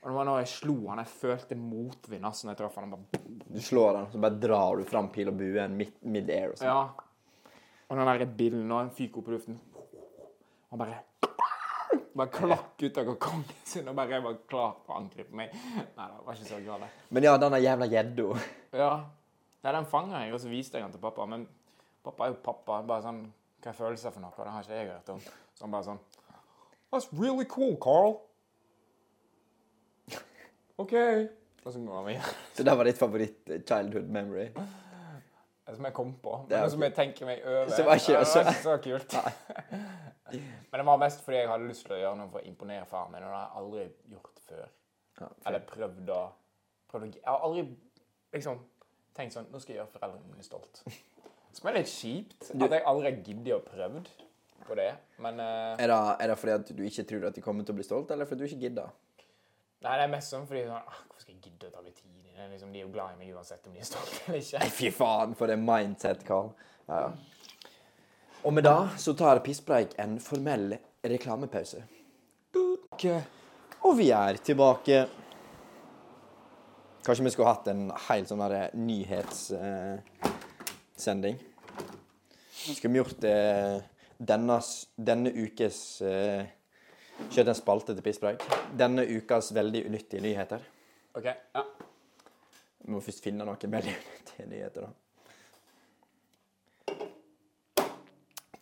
Speaker 2: Og det var når jeg slo han, jeg følte motvind altså, når jeg traff han, og bare
Speaker 1: Du slår den, så bare drar du fram pil og buen midt mid-air og sånn.
Speaker 2: Ja. Og den der bilen og den fyker opp i luften. Han bare Bare klakk ut av kongen sin og bare var klar for å angripe meg. Nei det var ikke så galt. det.
Speaker 1: Men ja, denne jævla gjedda.
Speaker 2: Ja. Nei, den fanga jeg, og så viste jeg den til pappa. Men pappa er jo pappa. Bare sånn Hva er følelser for noe? Det har ikke jeg hørt om. Så han bare sånn That's really cool, Carl. OK. Og så går han videre.
Speaker 1: Så det var ditt favoritt-childhood memory.
Speaker 2: Det som jeg kom på. Men
Speaker 1: Det
Speaker 2: det,
Speaker 1: er ok.
Speaker 2: som jeg tenker meg over.
Speaker 1: Så det var ikke-
Speaker 2: Ja, det
Speaker 1: så-
Speaker 2: var ikke så kult. Men det var mest fordi jeg hadde lyst til å gjøre noe for å imponere faren min. Og det har jeg aldri gjort før.
Speaker 1: Ja,
Speaker 2: Eller prøvd å, prøvd å Jeg har aldri liksom tenkt sånn Nå skal jeg gjøre foreldrene mine stolt. Som er litt kjipt. At jeg aldri gidder å prøvd på det. Men eh,
Speaker 1: Er det, er det fordi at du ikke tror at de kommer til å bli stolt, eller fordi du ikke gidder?
Speaker 2: Nei, det er mest sånn fordi sånn, ah, Hvorfor skal jeg gidde å ta litt tid i det? Liksom, de er jo glad i meg uansett om de er stolte eller ikke.
Speaker 1: Fy faen, for det mindset, Karl. Ja, ja. Og med det så tar Pisspreik en formell reklamepause. Ok. Og vi er tilbake. Kanskje vi skulle hatt en helt sånn nyhetssending. Skulle vi gjort det denne, s- denne ukes eh, Kjørt en spalte til Pisspreik. Denne ukas veldig unyttige nyheter.
Speaker 2: Ok, ja.
Speaker 1: Vi må først finne noen veldig unyttige nyheter, da.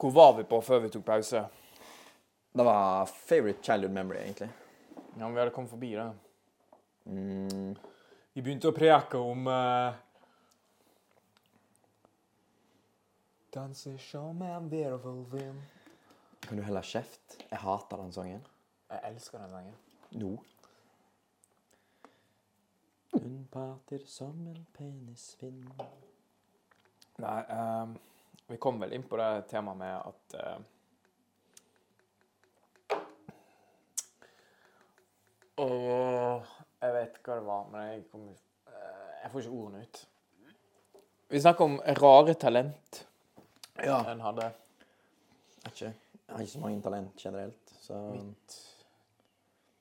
Speaker 2: Hvor var vi på før vi tok pause?
Speaker 1: Det var favorite childhood memory, egentlig.
Speaker 2: Ja, men vi hadde kommet forbi det. Mm. Vi begynte å preke om uh, Danse som en virvelvind.
Speaker 1: Kan du heller kjeft? Jeg hater den sangen.
Speaker 2: Jeg elsker den sangen.
Speaker 1: Nå. Hun parter som en penisfinn.
Speaker 2: Nei, ehm, vi kom vel inn på det temaet med at ehm, Åh, jeg vet ikke hva det var, men jeg, kom, eh, jeg får ikke ordene ut. Vi snakker om rare talent
Speaker 1: Ja.
Speaker 2: en hadde.
Speaker 1: Ikke. Jeg har ikke så mange talent generelt, så
Speaker 2: Mitt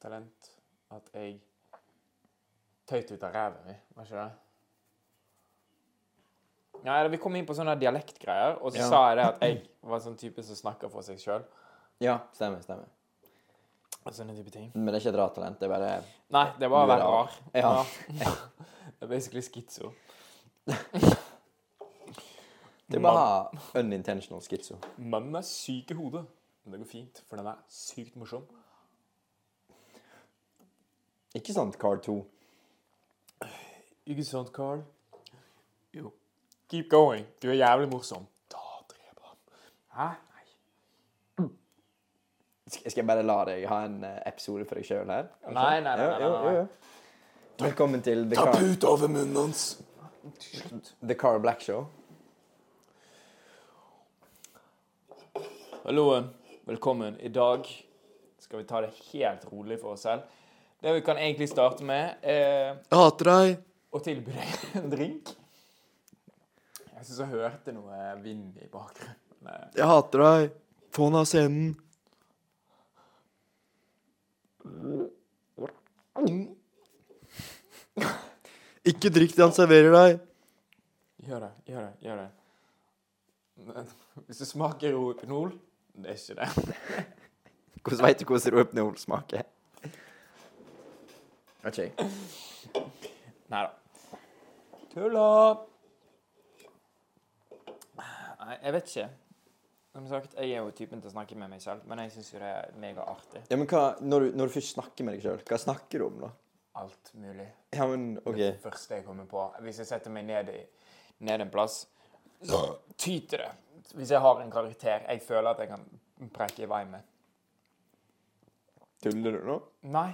Speaker 2: talent at jeg tøyt ut av ræva mi, var ikke det? Nei, eller vi kom inn på sånne dialektgreier, og så
Speaker 1: Ja.
Speaker 2: sa jeg det at jeg var sånn type som snakker for seg sjøl.
Speaker 1: Ja, stemmer. stemmer.
Speaker 2: Og sånne type ting.
Speaker 1: Men det er ikke et rart talent. Det er bare
Speaker 2: Nei, det var å
Speaker 1: Du er
Speaker 2: være
Speaker 1: rar.
Speaker 2: rar.
Speaker 1: Ja.
Speaker 2: Det er basically skizzo.
Speaker 1: Det er bare unintentional schizo.
Speaker 2: Mannen er syk i hodet, men det går fint, for den er sykt morsom.
Speaker 1: Ikke sant, Card 2?
Speaker 2: Ikke sant, Carl? Jo. Keep going. Du er jævlig morsom. Da dreper han. Hæ? Nei.
Speaker 1: Sk- Skal jeg bare la deg ha en eh, episode for deg sjøl her?
Speaker 2: Nei, nei, nei, nei,
Speaker 1: Jo, jo,
Speaker 2: nei,
Speaker 1: jo, jo. Velkommen til The Car,
Speaker 4: puta over munnen hans.
Speaker 1: The Car Black Show.
Speaker 2: Halloen. Velkommen. I dag skal vi ta det helt rolig for oss selv. Det vi kan egentlig starte med, er
Speaker 1: Jeg hater deg.
Speaker 2: å tilby deg en drink. Jeg syns jeg hørte noe vind i bakgrunnen. Eh,
Speaker 1: Jeg hater deg. Få han av scenen. Ikke drikk det han serverer deg.
Speaker 2: Gjør det, gjør det, gjør det. Men Hvis det smaker Rohypnol Det er ikke det.
Speaker 1: Hvordan veit du hvordan rohypnol smaker? Vet ikke jeg.
Speaker 2: Nei da. Tulla! Nei, jeg vet ikke. Som sagt, jeg er jo typen til å snakke med meg selv, men jeg syns jo det er megaartig.
Speaker 1: Ja, men hva, når, du, når du først snakker med deg sjøl, hva snakker du om da?
Speaker 2: Alt mulig.
Speaker 1: Ja, men OK.
Speaker 2: første jeg kommer på. Hvis jeg setter meg ned, i, ned en plass, så tyter det. Hvis jeg har en karakter jeg føler at jeg kan preke i vei med.
Speaker 1: Tuller du nå?
Speaker 2: Nei.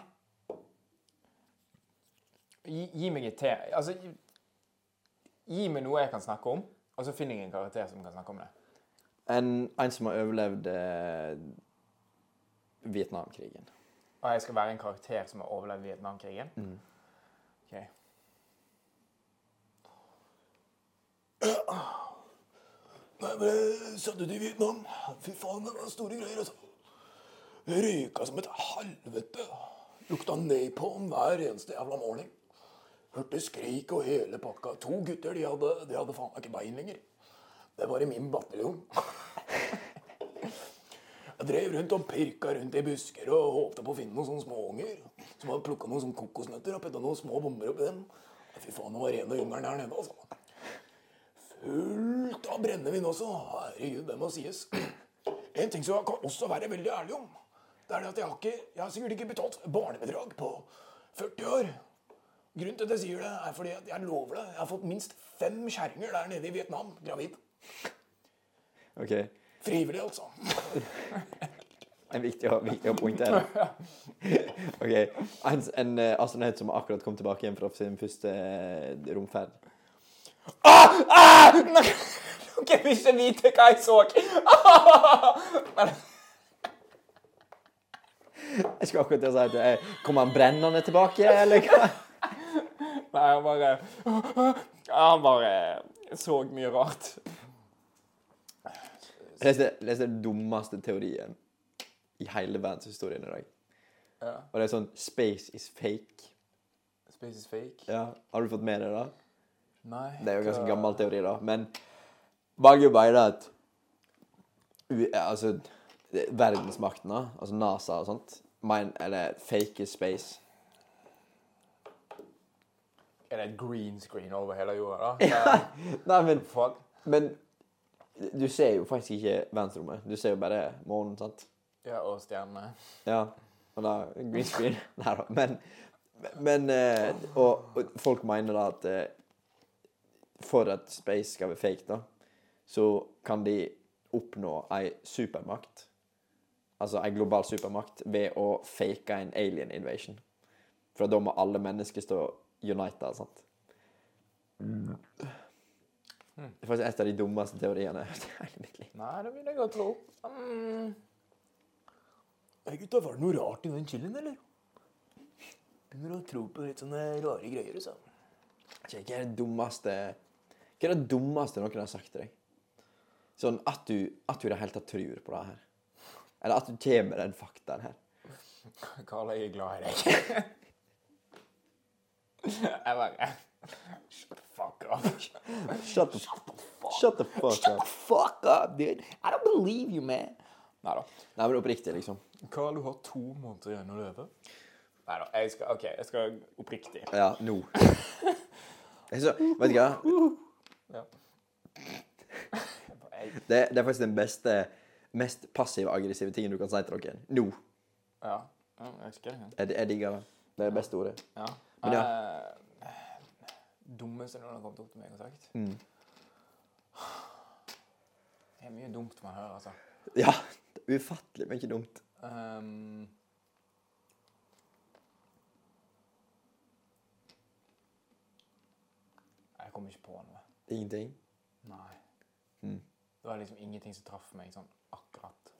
Speaker 2: Gi, gi meg et te. Altså, gi, gi meg noe jeg kan snakke om, og så finner jeg en karakter som kan snakke om det.
Speaker 1: En, en som har overlevd eh, Vietnamkrigen.
Speaker 2: Og jeg skal være en karakter som har overlevd Vietnamkrigen? Ok.
Speaker 4: Nei, men jeg satt ut i Vietnam. Fy faen, det var store greier, altså. Det røyka som et helvete. Lukta napalm hver eneste jævla morgen. Hørte skrik og hele pakka. To gutter, de hadde, de hadde faen meg ikke bein lenger. Det var i min bataljon. Jeg drev rundt og pirka rundt i busker og håpte på å finne noen sånne småunger. Som hadde plukka noen sånne kokosnøtter og putta noen små bomber oppi dem. Fy faen, det var rene jungelen her nede, altså fullt av brennevin også. Herregud, det må sies. En ting som jeg kan også være veldig ærlig om, det er det at jeg har, ikke, jeg har sikkert ikke betalt barnebidrag på 40 år. Grunnen til at jeg sier det, er fordi at jeg lover det. Jeg har fått minst fem kjerringer der nede i Vietnam gravid.
Speaker 1: OK.
Speaker 4: Frivillig, altså.
Speaker 1: En viktig, å- viktig å poengtere. OK. En, en eh, astronaut som akkurat kom tilbake igjen fra sin første eh, romferd.
Speaker 2: Ah! Ah! Nei! OK, vil ikke vite hva jeg så. Men,
Speaker 1: Jeg skulle akkurat til å si at jeg, Kommer han brennende tilbake, eller hva?
Speaker 2: nei, han bare Han bare eh, så mye rart.
Speaker 1: Les det, les det dummeste teorien i hele verdenshistorien i dag.
Speaker 2: Ja.
Speaker 1: Og det er sånn Space is fake.
Speaker 2: Space is fake.
Speaker 1: Ja, Har du fått med deg det? da?
Speaker 2: Nei.
Speaker 1: Det er jo en ganske
Speaker 2: hva-
Speaker 1: gammel teori, da. Men valget er bare at u- Altså, det- verdensmaktene, altså NASA og sånt, men, eller fake is space.
Speaker 2: Er det et green screen over hele jorda, da? Ja.
Speaker 1: Nei, men,
Speaker 2: Fuck.
Speaker 1: men du ser jo faktisk ikke verdensrommet. Du ser jo bare månen, sant?
Speaker 2: Ja, og stjernene.
Speaker 1: Ja. Og da green screen. Nei da. Men, men eh, og, og folk mener da at eh, for at space skal være fake, da, så kan de oppnå ei supermakt. Altså ei global supermakt ved å fake en alien invasion. For da må alle mennesker stå unita, sant? Det er faktisk et av de dummeste teoriene jeg har hørt i hele mitt liv.
Speaker 2: Nei, det vil jeg godt tro. Mm.
Speaker 4: Hei, gutta, var det noe rart i den chilien, eller? Begynner å tro på litt sånne rare greier, altså.
Speaker 1: Ikke, Hva er det dummeste Hva er det dummeste noen har sagt til deg? Sånn at du, at du i det hele tatt tror på det her. Eller at du kommer med den faktaen her.
Speaker 2: Karl, jeg er glad i deg. jeg bare Shut the fuck up.
Speaker 1: Shut the, shut the fuck up.
Speaker 2: Fuck up, dude. I don't believe you, man. Nei da.
Speaker 1: Nei, men oppriktig, liksom.
Speaker 2: Karl, du har to måneder igjen å leve. Nei da. Jeg skal, OK, jeg skal oppriktig.
Speaker 1: Ja, nå. Jeg Så, vet du hva?
Speaker 2: Ja. Jeg,
Speaker 1: Det, det er faktisk den beste, mest passiv-aggressive tingen du kan si til noen. Nå.
Speaker 2: ja. Ja, jeg husker det.
Speaker 1: Jeg, jeg digger det. Det er det beste ordet.
Speaker 2: Ja.
Speaker 1: Men ja.
Speaker 2: Eh, dummeste noen har kommet opp til meg og sagt.
Speaker 1: Mm.
Speaker 2: Det er mye dumt man hører, altså.
Speaker 1: Ja. det er Ufattelig, men ikke dumt.
Speaker 2: Ehm. Jeg kom ikke på noe.
Speaker 1: Ingenting.
Speaker 2: Nei.
Speaker 1: Mm.
Speaker 2: Det var liksom ingenting som traff meg sånn akkurat.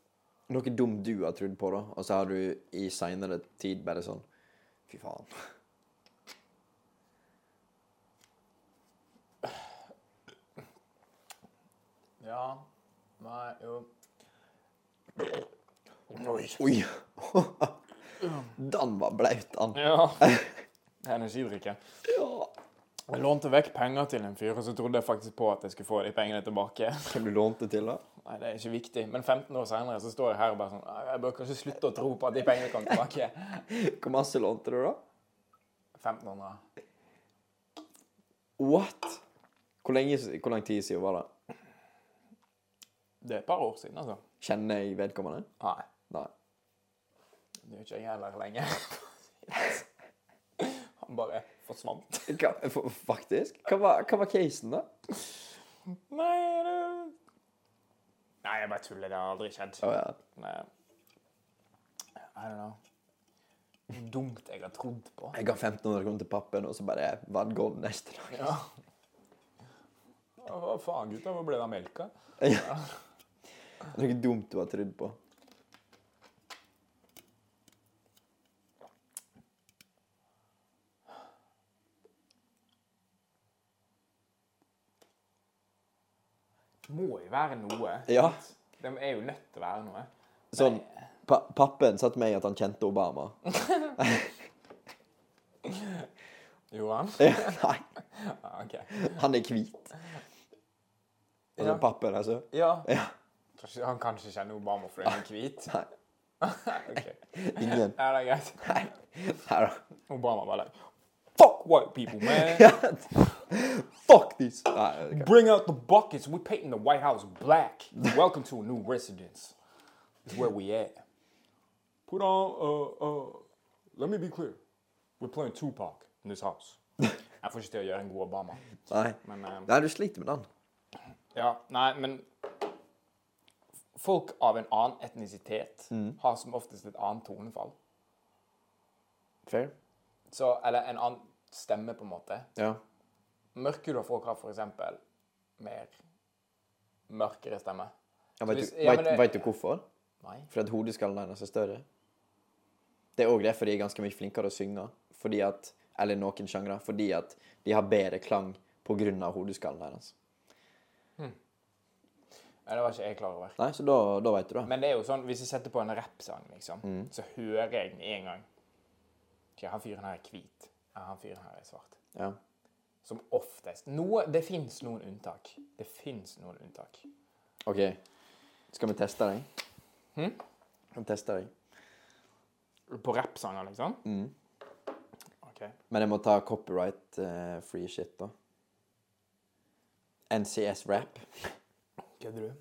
Speaker 1: Noe dumt du har trodd på, da, og så har du i seinere tid bare sånn Fy faen.
Speaker 2: Ja. Nei, jo.
Speaker 4: Oi.
Speaker 1: Oi! Den var blaut, den.
Speaker 2: Ja. Energidrikken.
Speaker 1: Ja.
Speaker 2: Jeg lånte vekk penger til en fyr, og så trodde jeg faktisk på at jeg skulle få de pengene tilbake.
Speaker 1: Hvem du lånte til, da?
Speaker 2: Nei, det er ikke viktig. Men 15 år senere så står jeg her og bare sånn «Nei, Jeg bør kanskje slutte å tro på at de pengene kommer tilbake.
Speaker 1: Hvor masse lånte du, da?
Speaker 2: 1500.
Speaker 1: What? Hvor, lenge, hvor lang tid siden var det?
Speaker 2: Det er et par år siden, altså.
Speaker 1: Kjenner jeg vedkommende?
Speaker 2: Nei.
Speaker 1: Nei.
Speaker 2: Det gjør ikke jeg heller lenger. Han bare forsvant.
Speaker 1: Hva, f- faktisk? Hva var, hva var casen, da?
Speaker 2: Nei, det... Nei, jeg bare tuller. Det har aldri skjedd.
Speaker 1: Å ja.
Speaker 2: Nei. I don't know. Hvor dumt jeg har trodd på.
Speaker 1: Jeg ga 1500 kroner til pappen, og så bare var det gone neste dag.
Speaker 2: Ja. Hva faen, gutta? Hvor ble det av melka?
Speaker 1: Ja. Noe dumt du har trodd på.
Speaker 2: Må jo være noe.
Speaker 1: Ja.
Speaker 2: Det er jo nødt til å være noe.
Speaker 1: Sånn, pa Pappen sa til meg at han kjente Obama.
Speaker 2: Gjorde han?
Speaker 1: Nei,
Speaker 2: Ja, ok.
Speaker 1: han er hvit. Altså
Speaker 2: Ja.
Speaker 1: pappen, altså.
Speaker 2: Ja.
Speaker 1: Ja.
Speaker 2: Kanskje, han kan ikke kjenne Obama fordi han er hvit?
Speaker 1: Nei,
Speaker 2: Ok.
Speaker 1: ingen.
Speaker 2: Ja, det er greit.
Speaker 1: Nei, Nei da.
Speaker 2: Obama bare like, Fuck white people, man!
Speaker 1: Fuck this! Nei, det kan-
Speaker 2: Bring out the buckets. We're painting the White House black. Welcome to a new residence. It's where we at. Put on, uh, uh, let me be clear. We're playing Tupac in this house. Jeg får ikke til å gjøre en god Obama.
Speaker 1: Nei.
Speaker 2: Men, eh,
Speaker 1: Nei, du sliter med den.
Speaker 2: Ja, nei, men folk av en annen etnisitet har som oftest et annet tonefall.
Speaker 1: Fair.
Speaker 2: Så, eller en annen stemme, på en måte.
Speaker 1: Ja.
Speaker 2: Mørkhuda folk har for eksempel mer mørkere stemme.
Speaker 1: Ja, vet,
Speaker 2: Hvis-
Speaker 1: du,
Speaker 2: ja, men
Speaker 1: vet,
Speaker 2: det-
Speaker 1: vet du hvorfor?
Speaker 2: Nei.
Speaker 1: Fordi at hodeskallen hennes er større. Det er òg derfor de er ganske mye flinkere å synge. Fordi at, eller noen sjangre. Fordi at de har bedre klang pga. hodeskallen hennes.
Speaker 2: Nei, Det var ikke jeg klar over.
Speaker 1: Nei, så da, da veit du det.
Speaker 2: Men det er jo sånn, hvis jeg setter på en rappsang, liksom, så hører jeg med en gang Ok, han fyren her er hvit. Ja, han fyren her er svart.
Speaker 1: Ja.
Speaker 2: Som oftest. Noe, det fins noen unntak. Det fins noen unntak.
Speaker 1: OK. Skal vi teste deg? Hm? Skal vi teste deg?
Speaker 2: På rappsanger, liksom? OK.
Speaker 1: Men jeg må ta copyright eh, free shit, da. NCS rap.
Speaker 2: Kødder du?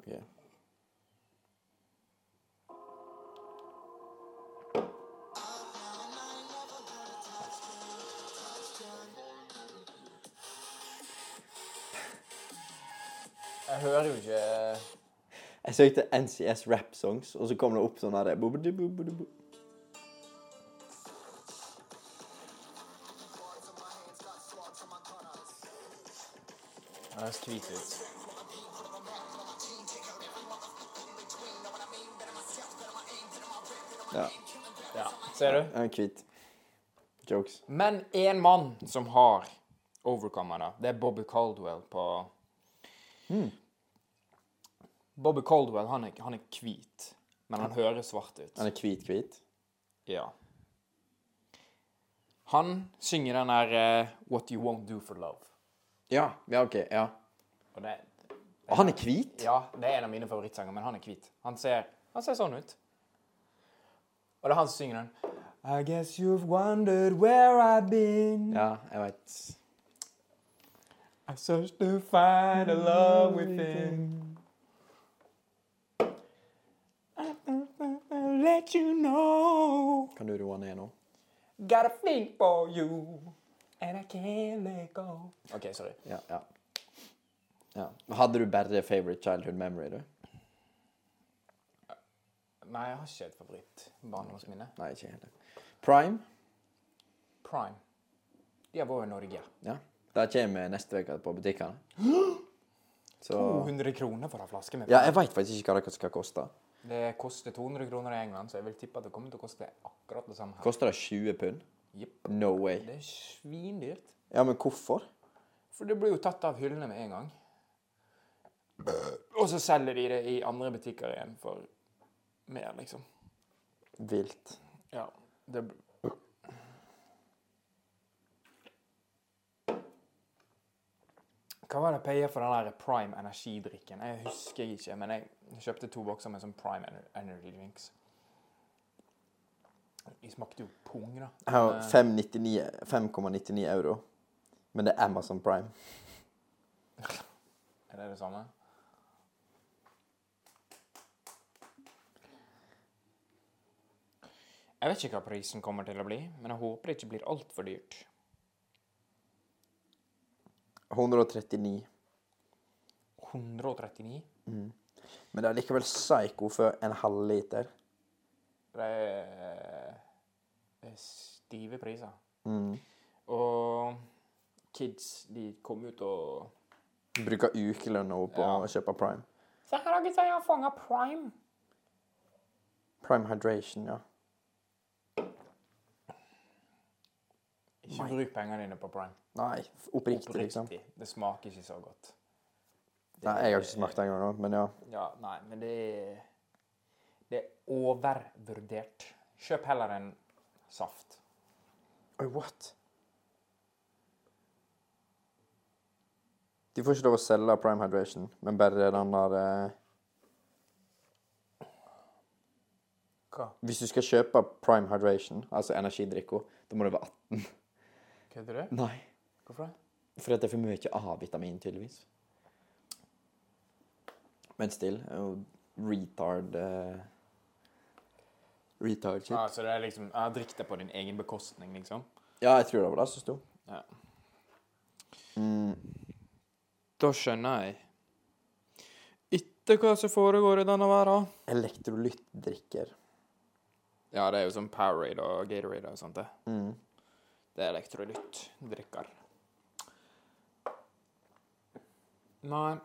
Speaker 1: Ok.
Speaker 2: Jeg hører jo ikke eh,
Speaker 1: Jeg søkte NCS rap songs, og så kom det opp sånn her bo-bo-di-bo-bo-di-bo.
Speaker 2: Han høres hvit ut.
Speaker 1: Ja.
Speaker 2: Ja. Ser du?
Speaker 1: Jeg er hvit. Jokes.
Speaker 2: Men én mann som har overcommet det, det er Bobby Caldwell på
Speaker 1: Hmm.
Speaker 2: Bobby Caldwell, han er, han er hvit, men han høres svart ut.
Speaker 1: Han er hvit-hvit.
Speaker 2: Ja. Han synger den der eh, What You Won't Do For Love.
Speaker 1: Ja. ja, OK. Ja.
Speaker 2: Og det,
Speaker 1: Og han er hvit?
Speaker 2: ja, det er en av mine favorittsanger, men han er hvit. Han ser, han ser sånn ut. Og det er han som synger den. I guess you've wondered where I've been.
Speaker 1: Ja, jeg veit.
Speaker 2: I searched to find a love within. Let you know.
Speaker 1: Kan du roe ned nå?
Speaker 2: Got a thing for you. And I can't let go. OK, sorry.
Speaker 1: Ja. ja. ja. Hadde du bare favorite childhood memory, du?
Speaker 2: Nei, jeg har ikke et favorittbarndomsminne.
Speaker 1: Nei, ikke heller. Prime?
Speaker 2: Prime. De har vært i Norge.
Speaker 1: Ja. Det kommer neste uke på butikkene. Så
Speaker 2: 200 kroner for en flaske med
Speaker 1: Ja, jeg veit faktisk ikke hva det skal koste.
Speaker 2: Det koster 200 kroner i England, så jeg vil tippe at det kommer til å koste akkurat det samme her.
Speaker 1: Koster det 20 pund?
Speaker 2: Jepp.
Speaker 1: No way.
Speaker 2: Det er svindyrt.
Speaker 1: Ja, men hvorfor?
Speaker 2: For det blir jo tatt av hyllene med en gang. Og så selger de det i andre butikker igjen for mer, liksom.
Speaker 1: Vilt.
Speaker 2: Ja. Det Hva var det jeg paya for den der Prime energidrikken? Jeg husker ikke, men jeg kjøpte to bokser med sånn Prime Ener- Energy Drinks. De smakte jo pung, da.
Speaker 1: Jeg har 5,99 5,99 euro, men det er Amazon Prime.
Speaker 2: Er det det samme? Jeg vet ikke hva prisen kommer til å bli, men jeg håper det ikke blir altfor dyrt.
Speaker 1: 139.
Speaker 2: 139?
Speaker 1: Men det er likevel psycho for en halvliter.
Speaker 2: Det er, det er eh, stive priser. Mm. Og kids, de kom ut og
Speaker 1: Bruker ukelønna på
Speaker 2: Ja.
Speaker 1: å kjøpe Prime.
Speaker 2: Se her, da, gutta, jeg har fanga prime.
Speaker 1: Prime Hydration, ja.
Speaker 2: Ikke bruk pengene dine på prime.
Speaker 1: Nei, f- oppriktig,
Speaker 2: Oppriktig.
Speaker 1: liksom.
Speaker 2: Det smaker ikke så godt.
Speaker 1: Nei, jeg har ikke smakt det engang, nå, men ja.
Speaker 2: Ja, nei, men det er Det er overvurdert. Kjøp heller en saft.
Speaker 1: Oi, what? De får ikke lov å selge Prime Hydration, men bare den der eh,
Speaker 2: Hva?
Speaker 1: Hvis du skal kjøpe Prime Hydration, altså energidrikka, da må du være 18.
Speaker 2: Kødder du?
Speaker 1: Nei.
Speaker 2: Hvorfor det?
Speaker 1: For det er for mye A-vitamin, tydeligvis. Men still er jo retard eh, Retard shit.
Speaker 2: Ah, så det er liksom ah, Drikk det på din egen bekostning, liksom?
Speaker 1: Ja, jeg tror det var det som sto.
Speaker 2: Ja. Da skjønner jeg. Etter hva som foregår i denne verden.
Speaker 1: Elektrolyttdrikker.
Speaker 2: Ja, det er jo sånn Powerade og Mm. Gatorade og sånt. Det Det er elektrolyttdrikker. Nei.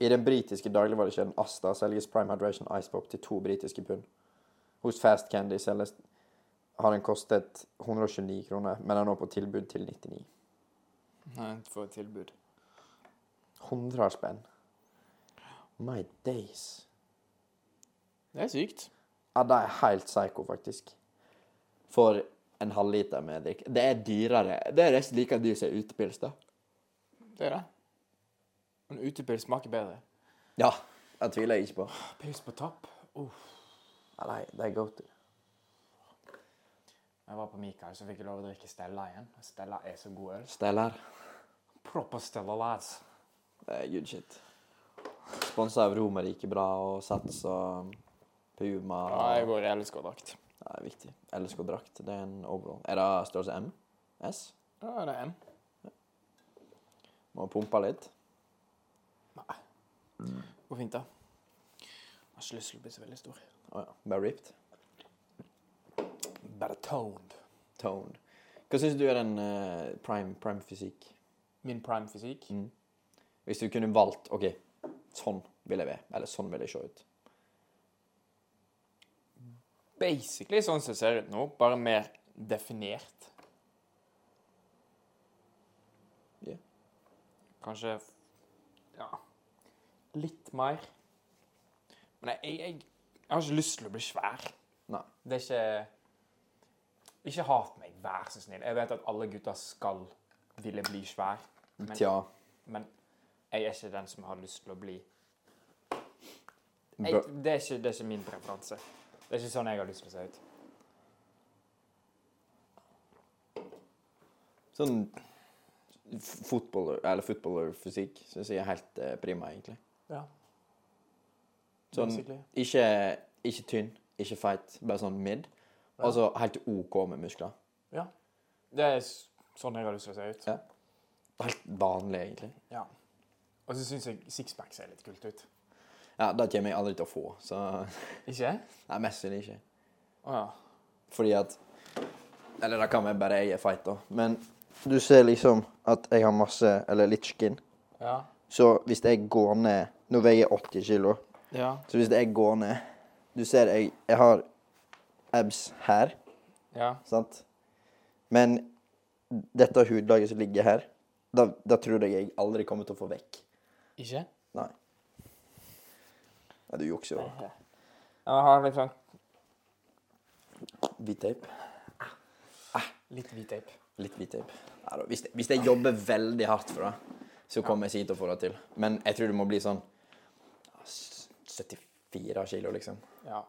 Speaker 1: I den britiske dagligvarekjeden Asta selges Prime Hydration Ice Pop til to britiske pund. Hos Fast Candy selges har den kostet 129 kroner, men er nå på tilbud til 99.
Speaker 2: Nei, for et tilbud.
Speaker 1: 100 spenn. My days.
Speaker 2: Det er sykt.
Speaker 1: Ja, det er helt psycho, faktisk. For en halvliter med drikke. Det er dyrere. Det er nesten like dyrt som utepils, da.
Speaker 2: Det er det. Men utepils smaker bedre.
Speaker 1: Ja, det tviler jeg ikke på.
Speaker 2: Pils på tapp. Uff.
Speaker 1: Ja, Nei, det er go to.
Speaker 2: Jeg var på Mikael, så fikk jeg lov å drikke Stella igjen. Stella er så god øl.
Speaker 1: Stellar.
Speaker 2: Proper Stella, lads.
Speaker 1: Det er good shit. Sponsa av Romerike bra og Sats og Puma.
Speaker 2: jeg går i LSK-drakt.
Speaker 1: Det er viktig. LSK drakt. Det er en overall. Er det størrelse M? S?
Speaker 2: Ja, det er M.
Speaker 1: Må pumpe litt.
Speaker 2: Går fint, da. Jeg har ikke lyst til å bli så veldig stor.
Speaker 1: Å ja. Bare ripped.
Speaker 2: Bare toned.
Speaker 1: Tone. Hva syns du er den eh, prime, prime fysikk?
Speaker 2: Min prime fysikk?
Speaker 1: Hvis du kunne valgt OK, sånn vil jeg være. Eller sånn vil jeg se ut.
Speaker 2: Basically sånn som det ser ut nå, bare mer definert.
Speaker 1: Ja.
Speaker 2: Kanskje f- Ja. Litt mer. Men jeg, jeg, jeg har ikke lyst til å bli svær.
Speaker 1: Nei.
Speaker 2: Det er ikke Ikke hat meg, vær så snill. Jeg vet at alle gutter skal ville bli svær, men,
Speaker 1: Tja.
Speaker 2: men jeg er ikke den som har lyst til å bli jeg,
Speaker 1: Bør,
Speaker 2: det, er ikke, det er ikke min preferanse. Det er ikke sånn jeg har lyst til å se ut.
Speaker 1: sånn f- fotballer, eller fotballerfysikk syns jeg er helt eh, prima, egentlig.
Speaker 2: Ja,
Speaker 1: Sånn,
Speaker 2: basically.
Speaker 1: ikke, ikke tynn, ikke feit, bare sånn mid. Og så helt OK med muskler.
Speaker 2: Ja. Det er s- sånn jeg har lyst til å se ut.
Speaker 1: Ja. Helt vanlig, egentlig.
Speaker 2: Ja. Og så syns jeg sixpack ser litt kult ut.
Speaker 1: Ja, Det kommer jeg aldri til å få, så
Speaker 2: Ikke?
Speaker 1: Nei, mest sannsynlig ikke.
Speaker 2: Å ja.
Speaker 1: Fordi at Eller det kan være bare jeg er feit, da. Men du ser liksom at jeg har masse, eller litt skin.
Speaker 2: Ja.
Speaker 1: Så hvis jeg går ned Nå veier jeg 80 kilo.
Speaker 2: Ja.
Speaker 1: Så hvis jeg går ned Du ser jeg, jeg har abs her,
Speaker 2: ja.
Speaker 1: sant? Men dette hudlaget som ligger her, da, da tror jeg jeg aldri kommer til å få vekk.
Speaker 2: Ikke?
Speaker 1: Nei. Nei, du jukser jo.
Speaker 2: Jeg har litt sånn
Speaker 1: Hvit teip.
Speaker 2: litt hvit teip.
Speaker 1: Litt hvit teip. Nei da, Hvis, jeg- hvis jeg jobber veldig hardt for det, så kommer jeg sikkert til å få det til. Men jeg tror det må bli sånn ja, s- 74 kilo, liksom.
Speaker 2: Ja.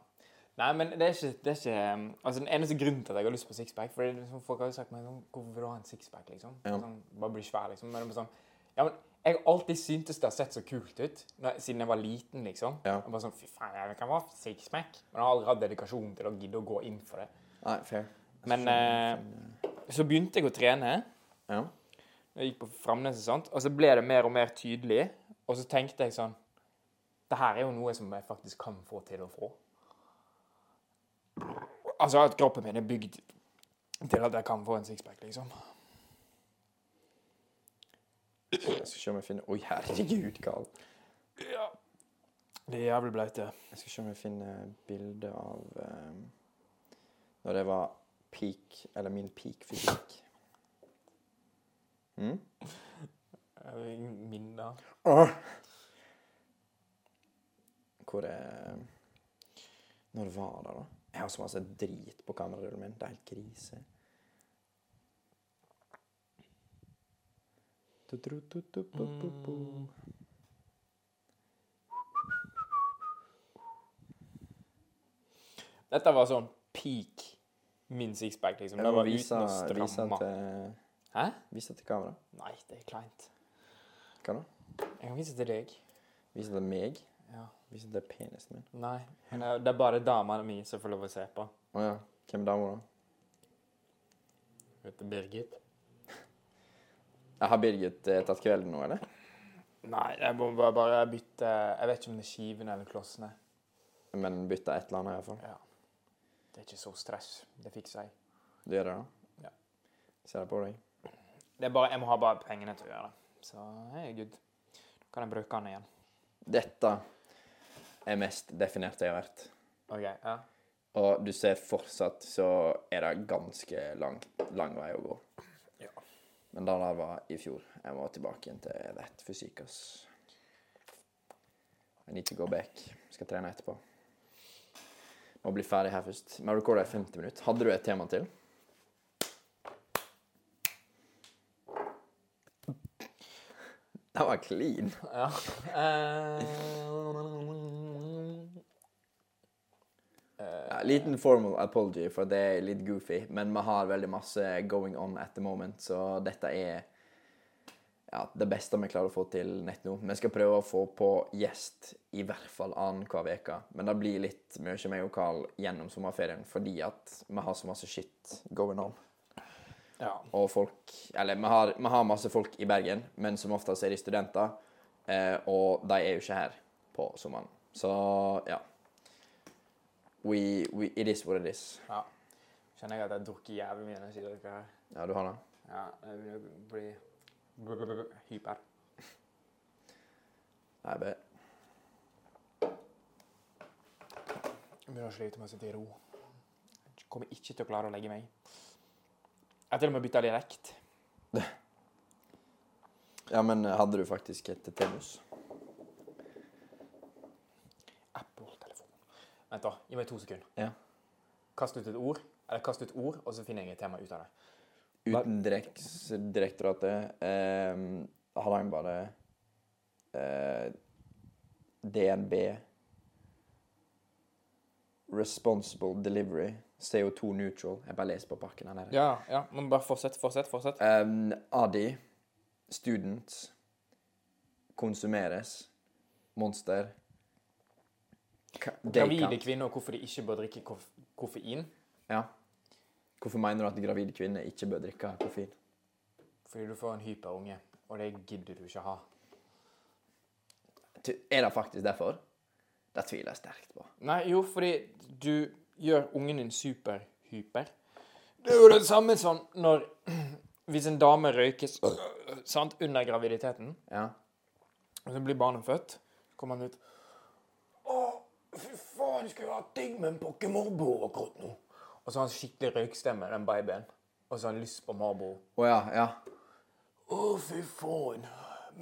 Speaker 2: Nei, men det er ikke, det er ikke um, Altså, Den eneste grunnen til at jeg har lyst på sixpack for det er liksom, Folk har jo sagt meg sånn Hvorfor vil du ha en sixpack, liksom?
Speaker 1: Ja.
Speaker 2: Sånn, bare bli svær, liksom. Men det er bare sånn Ja, men jeg har alltid syntes det har sett så kult ut når, siden jeg var liten, liksom.
Speaker 1: Ja.
Speaker 2: Jeg bare sånn Fy faen, jeg kan ha sixpack. Men jeg har aldri hatt dedikasjon til å gidde å gå inn for det.
Speaker 1: Nei, fair.
Speaker 2: Men eh, så begynte jeg å trene.
Speaker 1: Ja.
Speaker 2: Jeg gikk på Framnes og sånt, og så ble det mer og mer tydelig. Og så tenkte jeg sånn Det her er jo noe som jeg faktisk kan få til å få. Altså at kroppen min er bygd til at jeg kan få en sixpack, liksom.
Speaker 1: Jeg skal se om jeg finner Oi, herregud, Karl.
Speaker 2: Det er jævlig blaut, det.
Speaker 1: Jeg skal se om jeg finner bilde av um, når det var peak Eller min peak fysikk.
Speaker 2: Minner.
Speaker 1: Hvor er Når var det, da? Jeg har så masse drit på kamerarullen min. Det er helt krise. Du-du-du-du-bu-bu-bu.
Speaker 2: Dette var sånn peak min sixpack, liksom.
Speaker 1: Jeg
Speaker 2: Det
Speaker 1: må
Speaker 2: var
Speaker 1: vise,
Speaker 2: uten å
Speaker 1: vise,
Speaker 2: stramme.
Speaker 1: til,
Speaker 2: Hæ?
Speaker 1: vise til kamera.
Speaker 2: Nei, det er kleint.
Speaker 1: Hva da?
Speaker 2: Jeg kan vise til deg.
Speaker 1: Vise til meg.
Speaker 2: Ja.
Speaker 1: Vise til penisen min.
Speaker 2: Nei. Men eh, det er- det er bare dama mi som får lov å se på.
Speaker 1: Å ja. Hvem er dama, da?
Speaker 2: Hun heter Birgit.
Speaker 1: Ja, Har Birgit eh, tatt kvelden nå, eller?
Speaker 2: Nei, jeg må bare, bare bytte Jeg vet ikke om det er skivene eller klossene.
Speaker 1: Men bytta et eller annet, iallfall.
Speaker 2: Ja. Det er ikke så stress. Det fikser jeg.
Speaker 1: Du gjør det, da?
Speaker 2: Ja.
Speaker 1: Ser det på deg.
Speaker 2: Det er bare, jeg må ha bare pengene til å gjøre det. Så jeg er good. Da kan jeg bruke den igjen.
Speaker 1: Dette er mest definert jeg har vært.
Speaker 2: OK. ja.
Speaker 1: Og du ser fortsatt så er det ganske lang, lang vei å gå.
Speaker 2: Ja.
Speaker 1: Men det der var i fjor. Jeg må tilbake igjen til rett fysikk, ass. I need to go back. Skal trene etterpå. Må bli ferdig her først. Vi har recorda i 50 minutter. Hadde du et tema til? Den var clean.
Speaker 2: Ja. Eh,
Speaker 1: Ja, liten formal apology, for det er litt goofy, men vi har veldig masse going on at the moment, så dette er ja, det beste vi klarer å få til nett nå. Vi skal prøve å få på gjest i hvert fall annenhver uke, men det blir litt mye meg og Carl gjennom sommerferien fordi at vi har så masse shit going on.
Speaker 2: ja.
Speaker 1: Og folk Eller vi har, vi har masse folk i Bergen, men som oftest er de studenter, eh, og de er jo ikke her på sommeren. Så ja. We, we, it is what it is.
Speaker 2: ja. Kjenner jeg at jeg har drukket jævlig mye energidrikker her.
Speaker 1: Ja, du har det.
Speaker 2: Ja, jeg begynner å bli bl- bl- bl- hyper.
Speaker 1: Nei, be.
Speaker 2: Jeg begynner å slite med å sitte i ro. Jeg kommer ikke til å klare å legge meg. Jeg har til og med bytta dialekt.
Speaker 1: Ja, men eh, hadde du faktisk et temus?
Speaker 2: Apple-telefon. Vent, da. Gi meg to sekunder.
Speaker 1: Ja.
Speaker 2: Kast ut et ord, eller kast ut ord, og så finner jeg et tema ut av det.
Speaker 1: Utenriksdirektoratet eh, Hardangerbladet eh, DNB Responsible Delivery CO2 Neutral. Jeg bare leser på pakken her nede.
Speaker 2: Ja, ja. Men bare fortsett, fortsett, fortsett.
Speaker 1: Um, Adi, student, konsumeres, monster Ka-
Speaker 2: Gravide
Speaker 1: Daycamp.
Speaker 2: kvinner og hvorfor de ikke bør drikke koff koffein.
Speaker 1: Ja. Hvorfor mener du at gravide kvinner ikke bør drikke koffein?
Speaker 2: Fordi du får en hyper unge, og det gidder du ikke ha.
Speaker 1: Ty- Er det faktisk derfor? Det tviler jeg sterkt på.
Speaker 2: Nei, jo, fordi du gjør ungen din superhyper. Det er jo det samme som når Hvis en dame røykes sant, under graviditeten,
Speaker 1: Ja.
Speaker 2: og så blir barnet født, kommer han ut
Speaker 4: Å, fy faen, skulle jeg hatt digg med en pakke Marlboro akkurat nå.
Speaker 2: Og så har han skikkelig røykstemme, den babyen. Og så har han lyst på Marbo.
Speaker 1: Å ja, ja.
Speaker 4: Å, fy faen.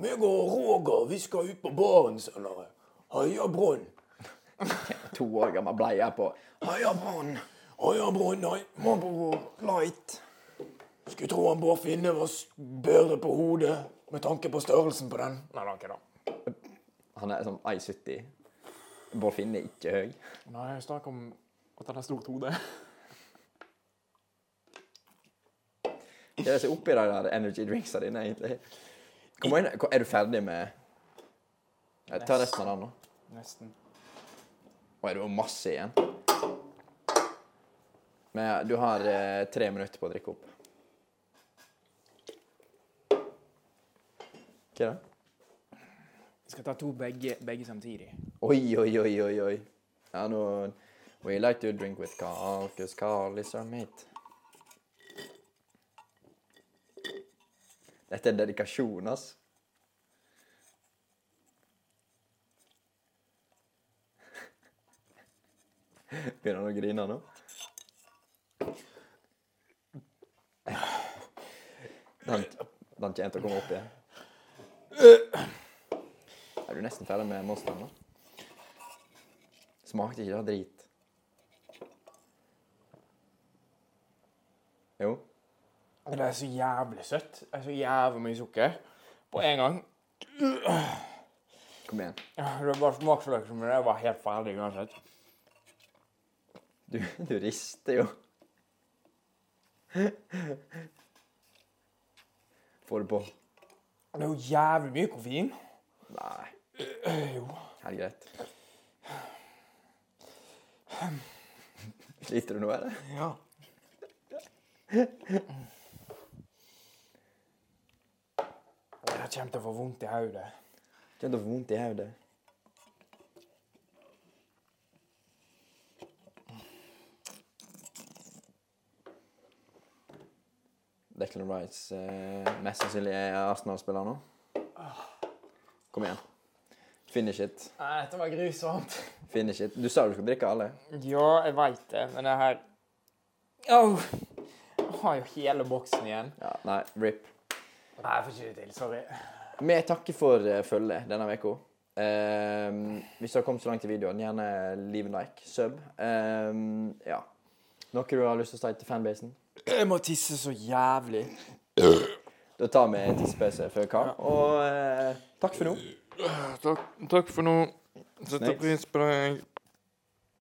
Speaker 4: Meg og Roger, vi skal ut på baren senere. Heia Brann.
Speaker 1: To år gammel bleie på.
Speaker 4: Heia Brann. Heia Brann, nei. Marlboro Light. Skulle tro han Bård Finne var s- bedre på hodet, med tanke på størrelsen på den.
Speaker 2: Nei, det var ikke det.
Speaker 1: Han er sånn 1,70. Bård Finne er ikke høy.
Speaker 2: Nei, jeg snakker om at han har stort hode.
Speaker 1: Det er det som er oppi de der energy drinksa dine, egentlig. Kom inn. Er du ferdig med Ja, Ta resten av den nå.
Speaker 2: Nesten.
Speaker 1: Og er det jo masse igjen? Men du har eh, tre minutter på å drikke opp. Hva er det?
Speaker 2: Jeg skal ta to begge, begge samtidig.
Speaker 1: Oi, oi, oi, oi, oi. Ja, nå We like to drink with Carl, because Carl is our mate. Dette er dedikasjon, ass. Begynner han å grine nå? Den, den kommer til å komme opp igjen. Er du nesten ferdig med monsteren, da? Smakte ikke det drit? Jo.
Speaker 2: Det er så jævlig søtt. Det er så jævlig mye sukker. På en gang.
Speaker 1: Kom igjen.
Speaker 2: Det er bare smaksløk som det. Jeg var helt ferdig uansett.
Speaker 1: Du, du rister jo. Få det på.
Speaker 2: Det er jo jævlig mye koffein. Øh,
Speaker 1: Nei. Jo. Helt greit. Sliter du nå, eller?
Speaker 2: Ja. Jeg kommer til å få vondt i hodet.
Speaker 1: Kjenner du vondt i hodet? Declan Rice eh, mest sannsynlig er Arsenal-spiller nå. Kom igjen. Finish it.
Speaker 2: Nei, dette var grusomt.
Speaker 1: Finish it. Du sa du skulle drikke alle.
Speaker 2: Ja, jeg veit det, men det her Au! Jeg har jo hele boksen igjen.
Speaker 1: Ja, nei, rip.
Speaker 2: Nei, jeg får ikke det til. Sorry.
Speaker 1: Vi takker for eh, følget denne uka. Ehm, hvis du har kommet så langt i videoen, gjerne leave a like, sub. Ehm, ja. Noe du har lyst til å si til fanbasen?
Speaker 2: Jeg må tisse så jævlig.
Speaker 1: Da tar vi en tissepause før hva. Og eh, takk for nå.
Speaker 2: Takk, takk for nå.
Speaker 1: Snakes.
Speaker 2: pris på deg.